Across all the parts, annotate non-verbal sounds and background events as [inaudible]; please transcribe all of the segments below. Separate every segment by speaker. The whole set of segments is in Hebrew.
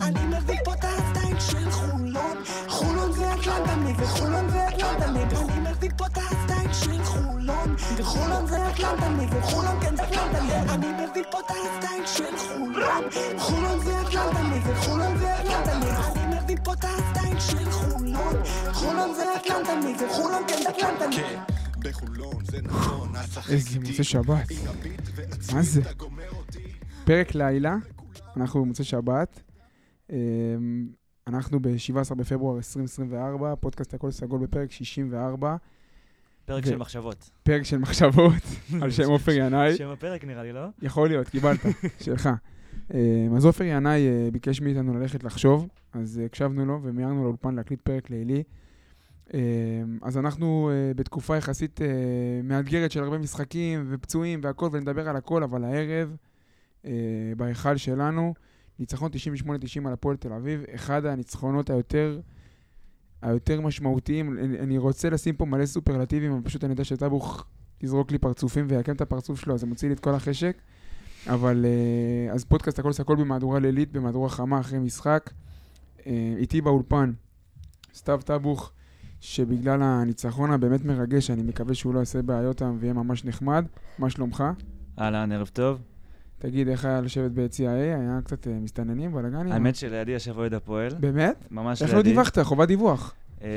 Speaker 1: אני מביא פה את הסטייל של חולון חולון זה אטלנטה וחולון זה אטלנטה אני מביא פה את הסטייל של חולון חולון זה אטלנטה וחולון כן זה אטלנטה אני מביא פה את הסטייל של חולון חולון זה אטלנטה וחולון זה אטלנטה אני מביא פה את הסטייל של חולון חולון זה אטלנטה וחולון כן זה אטלנטה
Speaker 2: כן, בחולון זה נכון, אסחק
Speaker 3: איזה מוצא שבת.
Speaker 2: עם הביט
Speaker 3: מה זה?
Speaker 2: ועצמי אתה גומר אותי.
Speaker 3: פרק לילה, אנחנו במוצאי שבת. אמ, אנחנו ב-17 בפברואר 2024, פודקאסט הכל סגול בפרק 64,
Speaker 4: פרק
Speaker 3: ו-
Speaker 4: של מחשבות.
Speaker 3: פרק של מחשבות על שם עופר ינאי.
Speaker 4: שם הפרק נראה לי, לא?
Speaker 3: יכול להיות, קיבלת, שלך. אמ, אז עופר ינאי אה, ביקש מאיתנו ללכת לחשוב, אז אה, הקשבנו לו ומיהרנו לאולפן להקליט פרק לילי. אמ, אז אנחנו אה, בתקופה יחסית אה, מאתגרת של הרבה משחקים ופצועים והכל, ונדבר על הכל, אבל הערב, אה, בהיכל שלנו, ניצחון 98-90 על הפועל תל אביב, אחד הניצחונות היותר... היותר משמעותיים, אני- אני רוצה לשים פה מלא סופרלטיבים, אבל פשוט אני יודע שטאבוך יזרוק לי פרצופים ויעקם את הפרצוף שלו, אז זה מוציא לי את כל החשק. אבל אה, אז פודקאסט הכל סקול במהדורה לילית, במהדורה חמה אחרי משחק. אה, איתי באולפן, סתיו טבוך, שבגלל הניצחון הבאמת מרגש, אני מקווה שהוא לא יעשה בעיות שם ויהיה ממש נחמד. מה שלומך?
Speaker 4: אהלן, ערב טוב.
Speaker 3: תגיד, איך היה לשבת ביציע A? היה קצת אה, מסתננים, בלאגנים?
Speaker 4: האמת שלידי ישב אוהד הפועל,
Speaker 3: באמת?
Speaker 4: ממש לידי.
Speaker 3: איך לא דיווחת? חובת דיווח.
Speaker 4: אה,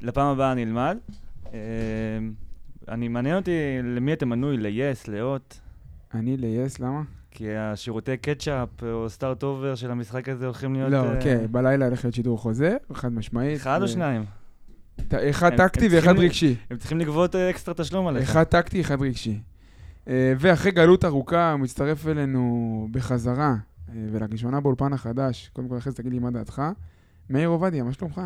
Speaker 4: לפעם הבאה אני אלמד. אה, אני מעניין אותי למי אתה מנוי, ל-yes, להוט,
Speaker 3: אני ל-yes, למה?
Speaker 4: כי השירותי קטשאפ או סטארט אובר של המשחק הזה הולכים להיות...
Speaker 3: לא,
Speaker 4: אה,
Speaker 3: אוקיי, בלילה הולך להיות שידור חוזר, חד משמעית.
Speaker 4: אחד
Speaker 3: אה,
Speaker 4: או שניים.
Speaker 3: ת- אחד
Speaker 4: הם- הם
Speaker 3: טקטי
Speaker 4: צריכים
Speaker 3: ואחד
Speaker 4: לי-
Speaker 3: רגשי.
Speaker 4: הם צריכים לגבות אה, אקסטרה תשלום עליך.
Speaker 3: אחד טקטי, אחד רגשי. אה, ואחרי גלות ארוכה, הוא מצטרף אלינו בחזרה, אה, ולראשונה באולפן החדש, קודם כל אחרי זה תגיד לי מה דעתך. מאיר עובדיה, מה שלומך?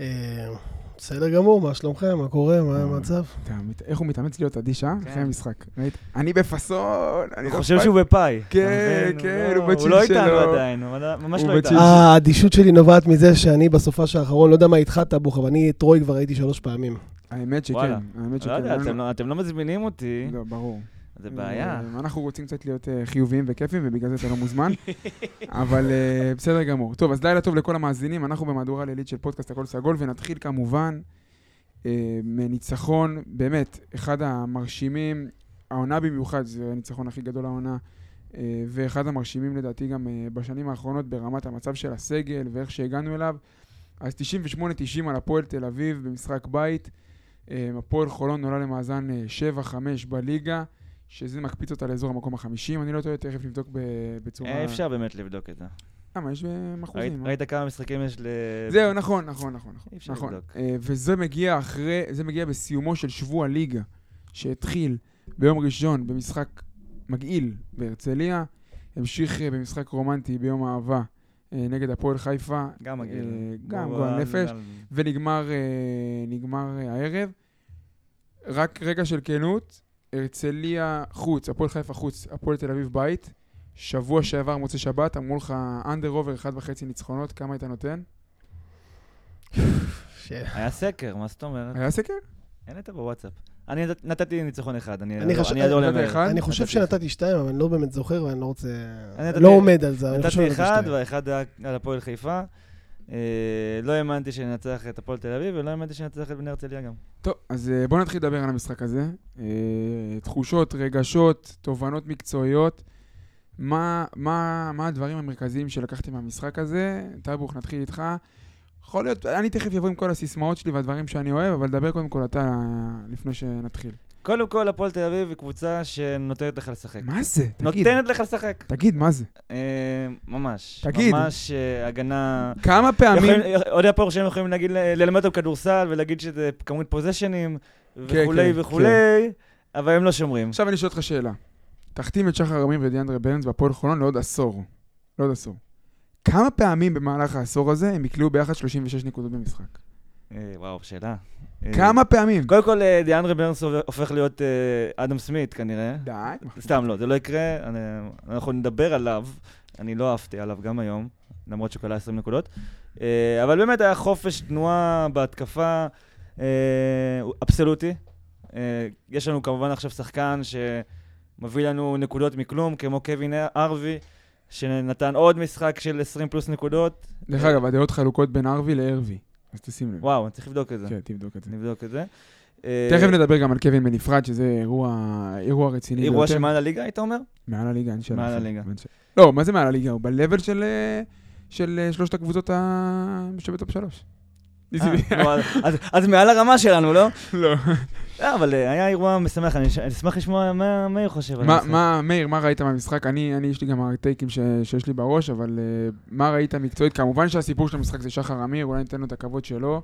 Speaker 5: אה, בסדר גמור, מה שלומכם? מה קורה? מה המצב?
Speaker 3: אתה מת- איך הוא מתאמץ להיות אדיש, אה?
Speaker 4: כן.
Speaker 3: אחרי המשחק. ראית? אני בפאסון, אני
Speaker 4: הוא
Speaker 3: לא
Speaker 4: חושב
Speaker 3: אכפת
Speaker 4: שהוא בפאי. אתה
Speaker 3: כן,
Speaker 4: מבין?
Speaker 3: כן,
Speaker 4: לא-
Speaker 3: הוא בצ'יל
Speaker 4: הוא לא
Speaker 3: שלו.
Speaker 4: איתנו עדיין, הוא עדיין- ממש
Speaker 3: הוא
Speaker 4: לא איתנו.
Speaker 3: בצ'יל.
Speaker 5: אה, האדישות שלי נובעת מזה שאני בסופש האחרון, לא יודע מה איתך טבוך, אבל אני את רוי כבר ראיתי שלוש פעמים.
Speaker 3: האמת
Speaker 4: וואלה.
Speaker 3: שכן, האמת שכן.
Speaker 4: לא יודע,
Speaker 3: אני
Speaker 4: אתם לא- אתם לא מזמינים אותי,
Speaker 3: לא, ברור.
Speaker 4: זה בעיה.
Speaker 3: אה, אנחנו רוצים קצת להיות אה, חיוביים וכיפים, ובגלל זה אתה לא
Speaker 4: [laughs]
Speaker 3: מוזמן. אבל אה, בסדר גמור. טוב, אז לילה טוב לכל המאזינים, אנחנו במהדורה לילית של פודקאסט הכל סגול, ונתחיל כמובן אה, מניצחון, באמת, אחד המרשימים, העונה במיוחד, זה הניצחון הכי גדול העונה, אה, ואחד המרשימים לדעתי גם אה, בשנים האחרונות ברמת המצב של הסגל ואיך שהגענו אליו. אז 98-90 על הפועל תל אביב במשחק בית. אה, הפועל חולון עולה למאזן אה, 7-5 בליגה, שזה מקפיץ אותה לאזור המקום החמישים. אני לא טועה, תכף נבדוק ב- בצורה...
Speaker 4: אה, אפשר באמת לבדוק את זה.
Speaker 3: למה? יש בהם
Speaker 4: ראית-
Speaker 3: אחוזים. אה?
Speaker 4: ראית כמה משחקים יש ל...
Speaker 3: זהו, נכון, נכון, נכון. נכון,
Speaker 4: אי אפשר
Speaker 3: נכון.
Speaker 4: לבדוק.
Speaker 3: אה, וזה מגיע אחרי, זה מגיע בסיומו של שבוע ליגה, שהתחיל ביום ראשון במשחק מגעיל בהרצליה, המשיך אה, במשחק רומנטי ביום האהבה אה, נגד הפועל חיפה.
Speaker 4: גם מגעיל.
Speaker 3: אה, גם
Speaker 4: בוא,
Speaker 3: גועל
Speaker 4: אל-
Speaker 3: נפש.
Speaker 4: אל-
Speaker 3: ונגמר אה, נגמר אה, הערב. רק רגע של כנות, הרצליה חוץ, הפועל חיפה חוץ, הפועל תל אביב בית. שבוע שעבר מוצא שבת, אמרו לך אנדר אובר אחד וחצי ניצחונות, כמה היית נותן?
Speaker 5: ש-
Speaker 4: היה סקר, מה זאת אומרת?
Speaker 3: היה סקר?
Speaker 4: אין את בוואטסאפ. אני נת- נתתי ניצחון אחד, אני
Speaker 5: אני חושב-
Speaker 4: אני אדור
Speaker 3: נתת
Speaker 4: למאיר.
Speaker 3: אחד?
Speaker 5: אני חושב
Speaker 4: נתתי
Speaker 5: שנתתי שתיים, אבל אני לא באמת זוכר ואני לא רוצה...
Speaker 4: נכון? אני נתתי-
Speaker 5: לא עומד על זה, אבל אני חושב
Speaker 4: נתתי
Speaker 5: שנתתי
Speaker 4: אחד,
Speaker 5: שתיים.
Speaker 4: והאחד היה על הפועל חיפה. אה, לא האמנתי שננצח את הפועל תל אביב, ולא האמנתי שננצח את בני הרצליה גם.
Speaker 3: טוב, אז אה, בואו נתחיל לדבר על המשחק הזה. אה, תחושות, רגשות, תובנות מקצועיות. מה, מה, מה הדברים המרכזיים שלקחתם מהמשחק הזה? טאבוך, נתחיל איתך. יכול להיות, אני תכף אבוא עם כל הסיסמאות שלי והדברים שאני אוהב, אבל דבר קודם כל אתה לפני שנתחיל.
Speaker 4: קודם כל, הפועל תל אביב היא קבוצה שנותנת לך לשחק.
Speaker 3: מה זה? תגיד,
Speaker 4: נותנת לך לשחק.
Speaker 3: תגיד, מה זה?
Speaker 4: אה, ממש.
Speaker 3: תגיד.
Speaker 4: ממש אה, הגנה...
Speaker 3: כמה פעמים...
Speaker 4: יכולים- אה, אוהדי הפועל שהם יכולים להגיד, ללמד אותם כדורסל ולהגיד שזה כמות פוזיישנים וכולי
Speaker 3: כן,
Speaker 4: וכולי, אבל הם לא שומרים.
Speaker 3: עכשיו אני אשאל אותך שאלה. תחתים את שחר עמיר ודיאנדרה ברנס והפועל חולון לעוד עשור. לעוד עשור. כמה פעמים במהלך העשור הזה הם יקלעו ביחד 36 נקודות במשחק?
Speaker 4: אה, וואו, שאלה. אה,
Speaker 3: כמה פעמים?
Speaker 4: קודם כל, אה, דיאנדרה ברנס הופך להיות אה, אדם סמית כנראה.
Speaker 3: די.
Speaker 4: סתם לא, זה לא יקרה, אני, אנחנו נדבר עליו, אני לא אהבתי עליו גם היום, למרות שהוא כלל 20 נקודות. אה, אבל באמת היה חופש תנועה בהתקפה, אה, הוא אבסולוטי. אה, יש לנו כמובן עכשיו שחקן שמביא לנו נקודות מכלום, כמו קווין ארווי, שנתן עוד משחק של 20 פלוס נקודות.
Speaker 3: דרך אגב, הדעות חלוקות בין ערבי לערבי, אז תשים לב.
Speaker 4: וואו, אני צריך לבדוק את זה.
Speaker 3: כן, תבדוק את זה.
Speaker 4: נבדוק את זה. אה,
Speaker 3: תכף נדבר גם על קווין בנפרד, שזה אירוע, אירוע רציני
Speaker 4: אירוע
Speaker 3: ביותר.
Speaker 4: שמעל הליגה,
Speaker 3: [laughs]
Speaker 4: היית אומר? אה,
Speaker 3: מעל הליגה, אין שאלה.
Speaker 4: מעל
Speaker 3: בכלל.
Speaker 4: הליגה.
Speaker 3: אין שאלה. לא, מה זה מעל הליגה? הוא ב-level של, אה, של אה, שלושת הקבוצות ה... שבטופ שלוש.
Speaker 4: אה, נו, אז- אז- אז מעל הרמה שלנו, לא?
Speaker 3: [laughs] לא.
Speaker 4: לא, אבל אה, היה אירוע משמח, אני ש- אני אשמח לשמוע מה מאיר חושב על
Speaker 3: מה-
Speaker 4: המשחק.
Speaker 3: מה, מאיר, מה ראית מהמשחק? אני, אני, יש לי גם הטייקים ש- שיש לי בראש, אבל אה, מה ראית מקצועית? כמובן שהסיפור של המשחק זה שחר אמיר, אולי ניתן לו את הכבוד שלו.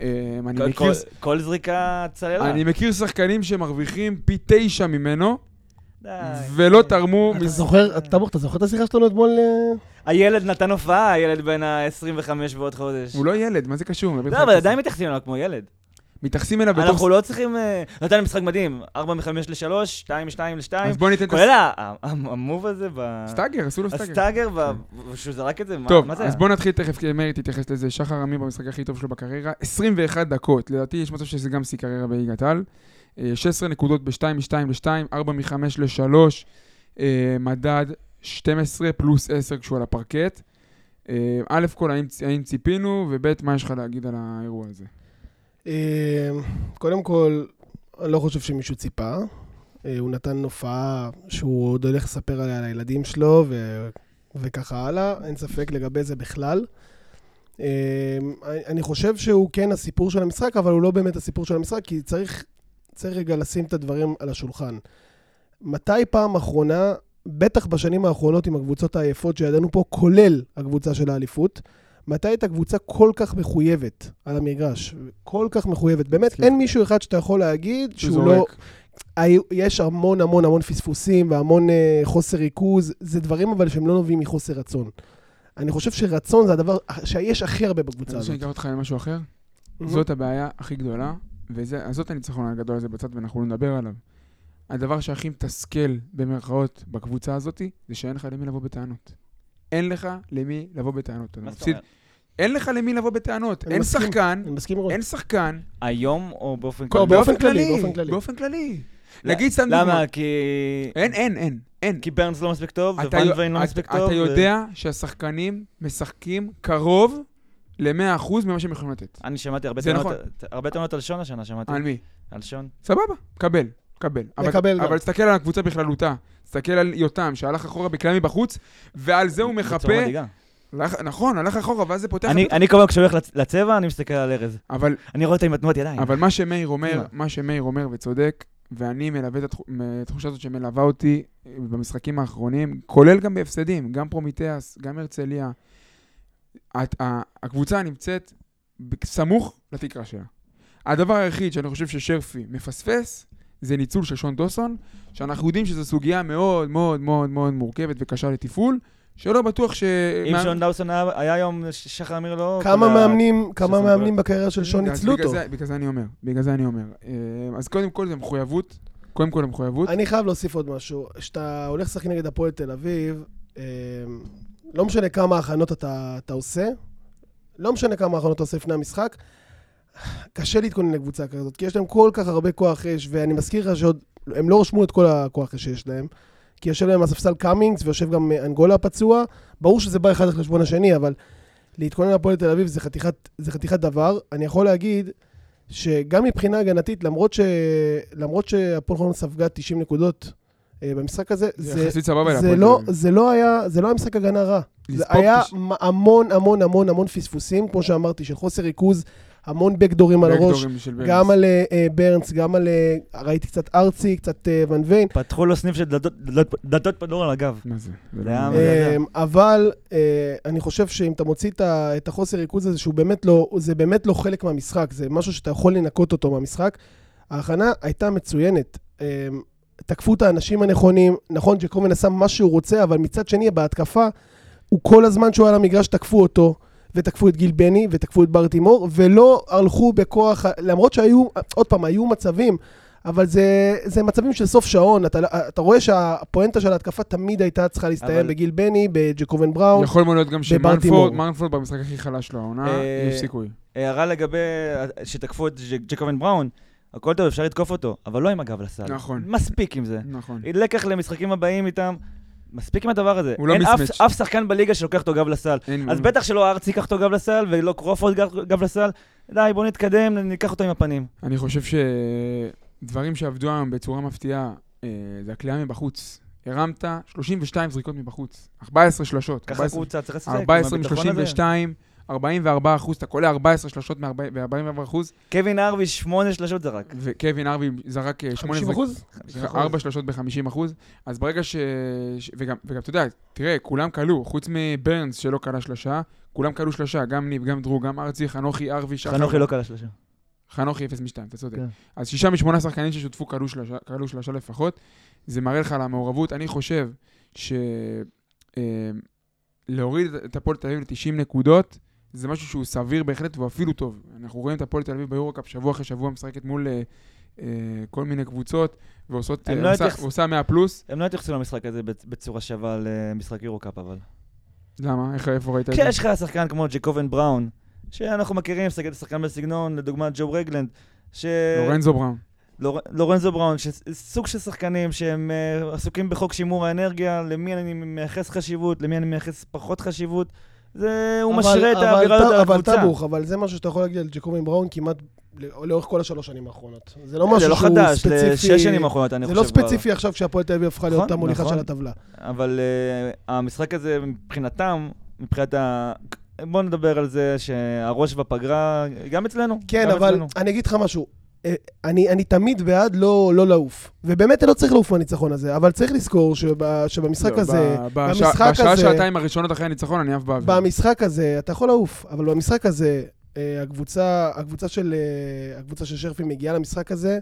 Speaker 3: אה, אני
Speaker 4: כל-
Speaker 3: מכיר-
Speaker 4: כל- כל זריקה צללה.
Speaker 3: אני מכיר שחקנים שמרוויחים פי תשע ממנו,
Speaker 4: די.
Speaker 3: ולא
Speaker 4: כן.
Speaker 3: תרמו...
Speaker 4: אה,
Speaker 5: אתה
Speaker 3: מס-
Speaker 5: זוכר, טבוך, אתה זוכר את השיחה שלנו אתמול? אה?
Speaker 4: הילד נתן הופעה, הילד בן ה-25 ועוד חודש.
Speaker 3: הוא לא ילד, מה זה קשור?
Speaker 4: לא, אבל עדיין מתייחסים אליו כמו ילד.
Speaker 3: מתייחסים אליו בתור...
Speaker 4: אנחנו לא צריכים... אה, נתן משחק מדהים, 4 מ-5 ל-3, 2 מ-2 ל-2,
Speaker 3: אז בוא ניתן את
Speaker 4: כולל ה- ה- המוב הזה ב...
Speaker 3: הסטאגר, עשו לו סטאגר. כן.
Speaker 4: הסטאגר, ב- שהוא זרק את זה, מה
Speaker 3: טוב,
Speaker 4: מה זה
Speaker 3: אז
Speaker 4: היה?
Speaker 3: בוא נתחיל תכף, כי מאיר תתייחס לזה. שחר עמי במשחק הכי טוב שלו בקריירה, 21 דקות. לדעתי יש מצב שזה גם שיא קריירה בליגת העל. אה, 16 נקודות ב-2 מ-2 ל-2, 4 מ-5 ל-3, אה, מדד 12 פלוס 10 כשהוא על הפרקט. אה, א' כל, האם, צ- האם ציפינו, וב' מה יש לך להגיד על האירוע הזה?
Speaker 5: אה, קודם כל, אני לא חושב שמישהו ציפה. אה, הוא נתן הופעה שהוא עוד הולך לספר עליה לילדים שלו ו... וככה הלאה, אין ספק לגבי זה בכלל. אה, אני- אני חושב שהוא כן הסיפור של המשחק, אבל הוא לא באמת הסיפור של המשחק, כי צריך, צריך רגע לשים את הדברים על השולחן. מתי פעם אחרונה, בטח בשנים האחרונות עם הקבוצות היפות שידענו פה, כולל הקבוצה של האליפות, מתי הייתה קבוצה כל כך מחויבת על המגרש? כל כך מחויבת. באמת,
Speaker 3: מסכים.
Speaker 5: אין מישהו אחד שאתה יכול להגיד שהוא לא,
Speaker 3: זורק.
Speaker 5: היו- יש המון המון המון פספוסים והמון אה, חוסר ריכוז, זה דברים אבל שהם לא נובעים מחוסר רצון. אני חושב שרצון זה הדבר שיש הכי הרבה
Speaker 3: אתה
Speaker 5: בקבוצה
Speaker 3: רוצה שאני
Speaker 5: הזאת.
Speaker 3: אקח אותך למשהו אחר?
Speaker 5: נו.
Speaker 3: זאת הבעיה הכי גדולה, וזאת הניצחון הגדול הזה בצד, ואנחנו לא נדבר עליו. הדבר שהכי מתסכל, במרכאות, בקבוצה הזאת, זה שאין לך למי לבוא בטענות. אין לך למי לבוא בטענות. אתה
Speaker 4: מה זאת
Speaker 3: מפסיד-
Speaker 4: אומרת?
Speaker 3: אין לך למי לבוא בטענות.
Speaker 5: אני
Speaker 3: אין
Speaker 5: מסכים.
Speaker 3: שחקן,
Speaker 5: אני מסכים מאוד.
Speaker 3: אין שחקן.
Speaker 4: היום או באופן
Speaker 5: כל-
Speaker 4: כללי?
Speaker 5: באופן כללי, באופן כללי.
Speaker 3: באופן כללי.
Speaker 4: לא,
Speaker 3: נגיד סתם דוגמא.
Speaker 4: למה? כי...
Speaker 3: אין, אין, אין, אין.
Speaker 4: כי ברנס לא מספיק טוב,
Speaker 3: אתה
Speaker 4: ווואן
Speaker 3: יו-
Speaker 4: ויין לא
Speaker 3: אתה-
Speaker 4: מספיק טוב.
Speaker 3: אתה
Speaker 4: ו-
Speaker 3: יודע שהשחקנים משחקים קרוב ל-100% ממה שהם יכולים לתת.
Speaker 4: אני שמעתי הרבה
Speaker 3: זה
Speaker 4: טענות-
Speaker 3: נכון.
Speaker 4: ט- הרבה טענות על שון השנה, שמעתי.
Speaker 3: על מי?
Speaker 4: על שון.
Speaker 3: סבבה, קבל, קבל. אבל-
Speaker 5: מקבל גם.
Speaker 3: אבל תסתכל על הקבוצה בכללותה. תסתכל על יותם, שהלך אחורה בכלל מבחוץ, ועל זה הוא
Speaker 4: בצורה
Speaker 3: מחפה.
Speaker 4: מדאיגה.
Speaker 3: הלך- נכון, הלך אחורה, ואז זה פותח...
Speaker 4: אני-
Speaker 3: את-
Speaker 4: אני כל פעם כשהולך לצ- לצבע, אני מסתכל על ארז.
Speaker 3: אבל
Speaker 4: אני רואה אותה עם התנועות ידיים.
Speaker 3: אבל מה שמאיר אומר,
Speaker 5: מה?
Speaker 3: מה שמאיר אומר וצודק, ואני מלווה את התחו- מ- התחושה הזאת שמלווה אותי אה, במשחקים האחרונים, כולל גם בהפסדים, גם פרומיטיאס, גם הרצליה. הת- ה- הקבוצה נמצאת ב- סמוך לתקרה שלה. הדבר היחיד שאני חושב ששרפי מפספס, זה ניצול של שון דוסון, שאנחנו יודעים שזו סוגיה מאוד מאוד מאוד מאוד מורכבת וקשה לתפעול, שלא בטוח ש...
Speaker 4: אם שון דאוסון היה היה היום, ש- שחר אמיר לא...
Speaker 5: כמה
Speaker 4: כולה-
Speaker 5: מאמנים, כמה
Speaker 4: שזה
Speaker 5: מאמנים בקריירה של שון
Speaker 3: אז
Speaker 5: ניצלו
Speaker 3: בגלל
Speaker 5: אותו.
Speaker 3: זה- בגלל זה אני אומר, בגלל זה אני אומר. אה, אז קודם כל זה מחויבות, קודם כל זה מחויבות.
Speaker 5: אני חייב להוסיף עוד משהו. כשאתה הולך לשחק נגד הפועל תל אביב, אה, לא משנה כמה הכנות אתה, אתה עושה, לא משנה כמה הכנות אתה עושה לפני המשחק, קשה להתכונן לקבוצה כזאת, כי יש להם כל כך הרבה כוח אש, ואני מזכיר לך שעוד, הם לא רשמו את כל הכוח אש שיש להם, כי יושב להם הספסל קאמינגס ויושב גם אה, אנגולה הפצוע, ברור שזה בא אחד על חשבון השני, אבל להתכונן להפועל תל אביב זה חתיכת, זה חתיכת דבר. אני יכול להגיד שגם מבחינה הגנתית, למרות, ש... למרות שהפועל חולון ספגה 90 נקודות אה, במשחק הזה,
Speaker 3: זה
Speaker 5: זה,
Speaker 3: יחסית סבבה
Speaker 5: זה,
Speaker 3: להפועל
Speaker 5: לא,
Speaker 3: תל אביב.
Speaker 5: זה, לא היה, זה לא היה משחק הגנה רע. זה
Speaker 3: לספוג
Speaker 5: היה
Speaker 3: תש-
Speaker 5: מ- המון המון המון המון פספוסים, כמו שאמרתי, של חוסר ריכוז, המון בקדורים על הראש,
Speaker 3: בקדורים של ברנס.
Speaker 5: גם על אה, אה, ברנס, גם על... אה, ראיתי קצת ארצי, קצת אה, ון ויין.
Speaker 4: פתחו לו סניף של דלתות- דלתות- דלתות פנדורה על הגב.
Speaker 3: מה זה? זה
Speaker 4: זה
Speaker 3: לא-
Speaker 4: היה-
Speaker 5: אה, אבל אה, אני חושב שאם אתה מוציא את ה- את החוסר ריכוז הזה, שהוא באמת לא, זה באמת לא חלק מהמשחק, זה משהו שאתה יכול לנקות אותו מהמשחק. ההכנה הייתה מצוינת. אה, תקפו את האנשים הנכונים, נכון, ג'קובן עשה מה שהוא רוצה, אבל מצד שני, בהתקפה, הוא כל הזמן שהוא היה על המגרש, תקפו אותו, ותקפו את גיל בני, ותקפו את בר תימור, ולא הלכו בכוח, למרות שהיו, עוד פעם, היו מצבים, אבל זה, זה מצבים של סוף שעון, אתה, לא- אתה רואה שהפואנטה של ההתקפה תמיד הייתה צריכה להסתיים
Speaker 4: אבל-
Speaker 5: בגיל בני, בג'קובן בראון.
Speaker 3: יכול מאוד להיות גם
Speaker 5: בברטימור.
Speaker 3: שמנפורד במשחק הכי חלש שלו, העונה,
Speaker 4: אה,
Speaker 3: יש סיכוי.
Speaker 4: הערה לגבי ה- שתקפו את ג'- ג'קובן בראון, הכל טוב, אפשר לתקוף אותו, אבל לא עם הגב לסל.
Speaker 3: נכון.
Speaker 4: מספיק עם זה.
Speaker 3: נכון.
Speaker 4: לקח למשחקים הבאים איתם, מספיק עם הדבר הזה.
Speaker 3: הוא לא
Speaker 4: אין אף-
Speaker 3: מיסמץ'.
Speaker 4: אף שחקן בליגה שלוקח אותו גב לסל.
Speaker 3: אין-
Speaker 4: אז בטח שלא ארצי ייקח אותו גב לסל, ולא קרופורד גב- גב לסל. די, בוא נתקדם, ניקח אותו עם הפנים.
Speaker 3: אני חושב שדברים שעבדו היום בצורה מפתיעה, אה, זה הכלייה מבחוץ. הרמת 32 זריקות מבחוץ, 14 שלשות.
Speaker 4: ככה
Speaker 3: 14
Speaker 4: קבוצה צריך לשחק. עם
Speaker 3: 14
Speaker 4: הביטחון הזה.
Speaker 3: מ-32, 44 אחוז, אתה קולע 14 שלשות מ-44 אחוז,
Speaker 4: קווין ארווי, שמונה שלשות זרק.
Speaker 3: וקווין ארווי זרק אה, 8
Speaker 5: 50
Speaker 3: זריקות,
Speaker 5: אחוז?
Speaker 3: 4 שלשות ב-50 אחוז, אז ברגע ש... ש- וגם, וגם אתה יודע, תראה, כולם כלו, חוץ מברנס שלא כלה שלושה, כולם כלו שלושה, גם ניב, גם דרור, גם ארצי, חנוכי, ארווי, שחר.
Speaker 4: חנוכי לא קל השלושה.
Speaker 3: חנוכי 0 מ-2, אתה צודק.
Speaker 4: כן.
Speaker 3: אז שישה משמונה שחקנים ששותפו כלו שלושה, כלו שלושה לפחות, זה מראה לך על המעורבות. אני חושב ש... אה, להוריד את הפועל תל אביב ל-90 נקודות, זה משהו שהוא סביר בהחלט והוא אפילו טוב. אנחנו רואים את הפועל תל אביב ביורוקאפ שבוע אחרי שבוע משחקת מול אה, אה, כל מיני קבוצות, ועושות,
Speaker 4: הם
Speaker 3: אה,
Speaker 4: לא
Speaker 3: עושה-
Speaker 4: התייחס-
Speaker 3: עושה 100 פלוס.
Speaker 4: הם לא התייחסו למשחק הזה בצ- בצורה שווה למשחק יורו-קאפ, אבל.
Speaker 3: למה? איך, איפה ראית את זה?
Speaker 4: כשיש לך שחקן כמו ג'קובן בראון, שאנחנו מכירים, שחק- שחקן בסגנון, לדוגמת ג'ו רגלנד, ש...
Speaker 3: לורנזו בראון.
Speaker 4: לור... לורנזו בראון, ש... סוג של שחקנים שהם אה, עסוקים בחוק שימור האנרגיה, למי אני מייחס חשיבות, למי אני מייחס פחות חשיבות, זה... הוא
Speaker 5: אבל-
Speaker 4: משרה את
Speaker 5: אבל
Speaker 4: האווירה
Speaker 5: טב-
Speaker 4: הזאת על הקבוצה.
Speaker 5: אבל טבוך, אבל זה משהו שאתה יכול להגיד על ג'קובן בראון כמעט לא- לאורך כל השלוש שנים האחרונות. זה לא
Speaker 4: זה
Speaker 5: משהו
Speaker 4: לא
Speaker 5: שהוא
Speaker 4: חדש,
Speaker 5: ספציפי.
Speaker 4: לשש שנים האחרונות, אני
Speaker 5: זה
Speaker 4: חושב.
Speaker 5: לא
Speaker 4: כבר.
Speaker 5: ספציפי עכשיו שהפועל תל אביב הפכה להיות
Speaker 4: נכון,
Speaker 5: המוליכה
Speaker 4: נכון.
Speaker 5: של הטבלה.
Speaker 4: אבל uh, המשחק הזה מבחינתם, מבחינת ה... בואו נדבר על זה שהראש בפגרה, גם אצלנו.
Speaker 5: כן,
Speaker 4: גם
Speaker 5: אבל
Speaker 4: אצלנו.
Speaker 5: אני אגיד לך משהו. אה, אני, אני תמיד בעד לא, לא לעוף, ובאמת לא צריך לעוף מהניצחון הזה, אבל צריך לזכור שב, שבמשחק
Speaker 3: לא,
Speaker 5: הזה,
Speaker 3: ב- בשע-
Speaker 5: במשחק
Speaker 3: בשעה,
Speaker 5: הזה-
Speaker 3: שעתיים הראשונות אחרי הניצחון אני עף באוויר.
Speaker 5: במשחק הזה, אתה יכול לעוף, אבל במשחק הזה, אה, הקבוצה, הקבוצה, של, אה, הקבוצה של שרפי מגיעה למשחק הזה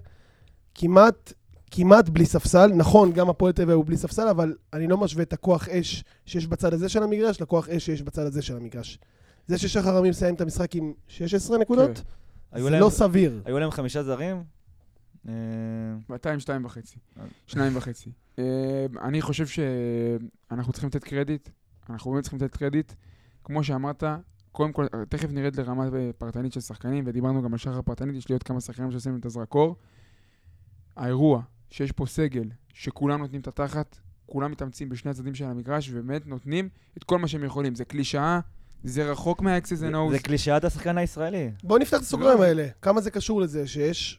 Speaker 5: כמעט, כמעט בלי ספסל. נכון, גם הפועל תל אביב הוא בלי ספסל, אבל אני לא משווה את הכוח אש שיש בצד הזה של המגרש לכוח אש שיש בצד הזה של המגרש. זה ששחר עמי מסיים את המשחק עם 16
Speaker 3: כן,
Speaker 5: נקודות,
Speaker 4: היו
Speaker 5: זה
Speaker 4: להם-
Speaker 5: לא סביר.
Speaker 4: היו להם חמישה זרים. אה,
Speaker 3: 200, שתיים וחצי.
Speaker 4: אז-
Speaker 3: שניים וחצי. אה, אני חושב שאנחנו צריכים לתת קרדיט. אנחנו באמת צריכים לתת קרדיט. כמו שאמרת, קודם כל, אה, תכף נרד לרמה אה, פרטנית של שחקנים, ודיברנו גם על שחר פרטנית, יש לי עוד כמה שחקנים שעושים את הזרקור. האירוע, שיש פה סגל, שכולם נותנים את התחת, כולם מתאמצים בשני הצדדים של המגרש, ובאמת נותנים את כל מה שהם יכולים. זה קלישאה, זה רחוק מהאקסס אנד
Speaker 4: זה קלישאת השחקן הישראלי.
Speaker 5: בואו נפתח את הסוגריים
Speaker 3: לא.
Speaker 5: האלה. כמה זה קשור לזה שיש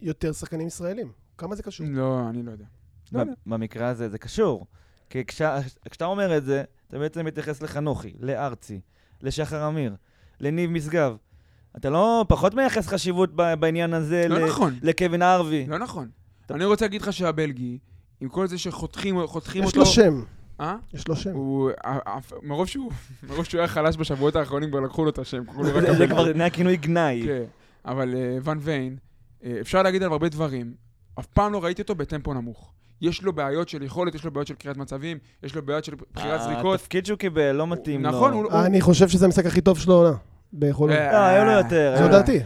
Speaker 5: יותר שחקנים ישראלים? כמה זה קשור?
Speaker 3: לא, אני לא יודע. לא יודע.
Speaker 4: במקרה הזה זה קשור. כי כשה- כשאתה אומר את זה, אתה בעצם מתייחס לחנוכי, לארצי, לשחר אמיר, לניב משגב. אתה לא פחות מייחס חשיבות ב- בעניין הזה
Speaker 3: לא
Speaker 4: ל-
Speaker 3: נכון.
Speaker 4: לקווין ארווי.
Speaker 3: לא נכון. אני רוצה להגיד לך שהבלגי, עם כל זה שחותכים חותכים
Speaker 5: יש
Speaker 3: אותו...
Speaker 5: לו שם,
Speaker 3: אה?
Speaker 5: יש לו שם.
Speaker 3: הוא... אה, אף- מרוב שהוא [laughs] מרוב שהוא היה חלש בשבועות האחרונים, כבר לקחו לו את השם. קראו לו רק
Speaker 4: זה- זה
Speaker 3: הבלגי.
Speaker 4: כבר נהיה כינוי גנאי.
Speaker 3: נכון, כן. אבל אה, ון ויין, אה, אפשר להגיד עליו הרבה דברים. אף פעם לא ראיתי אותו בטמפו נמוך. יש לו בעיות של יכולת, יש לו בעיות של קריאת מצבים, יש לו בעיות של בחירת
Speaker 4: אה,
Speaker 3: זריקות.
Speaker 4: התפקיד שהוא קיבל לא מתאים לו.
Speaker 3: נכון, הוא...
Speaker 5: אני חושב שזה המשחק הכי טוב שלו העונה, ביכולות.
Speaker 3: אה,
Speaker 4: לא, היה לו יותר.
Speaker 5: זו
Speaker 4: אה,
Speaker 5: דעתי.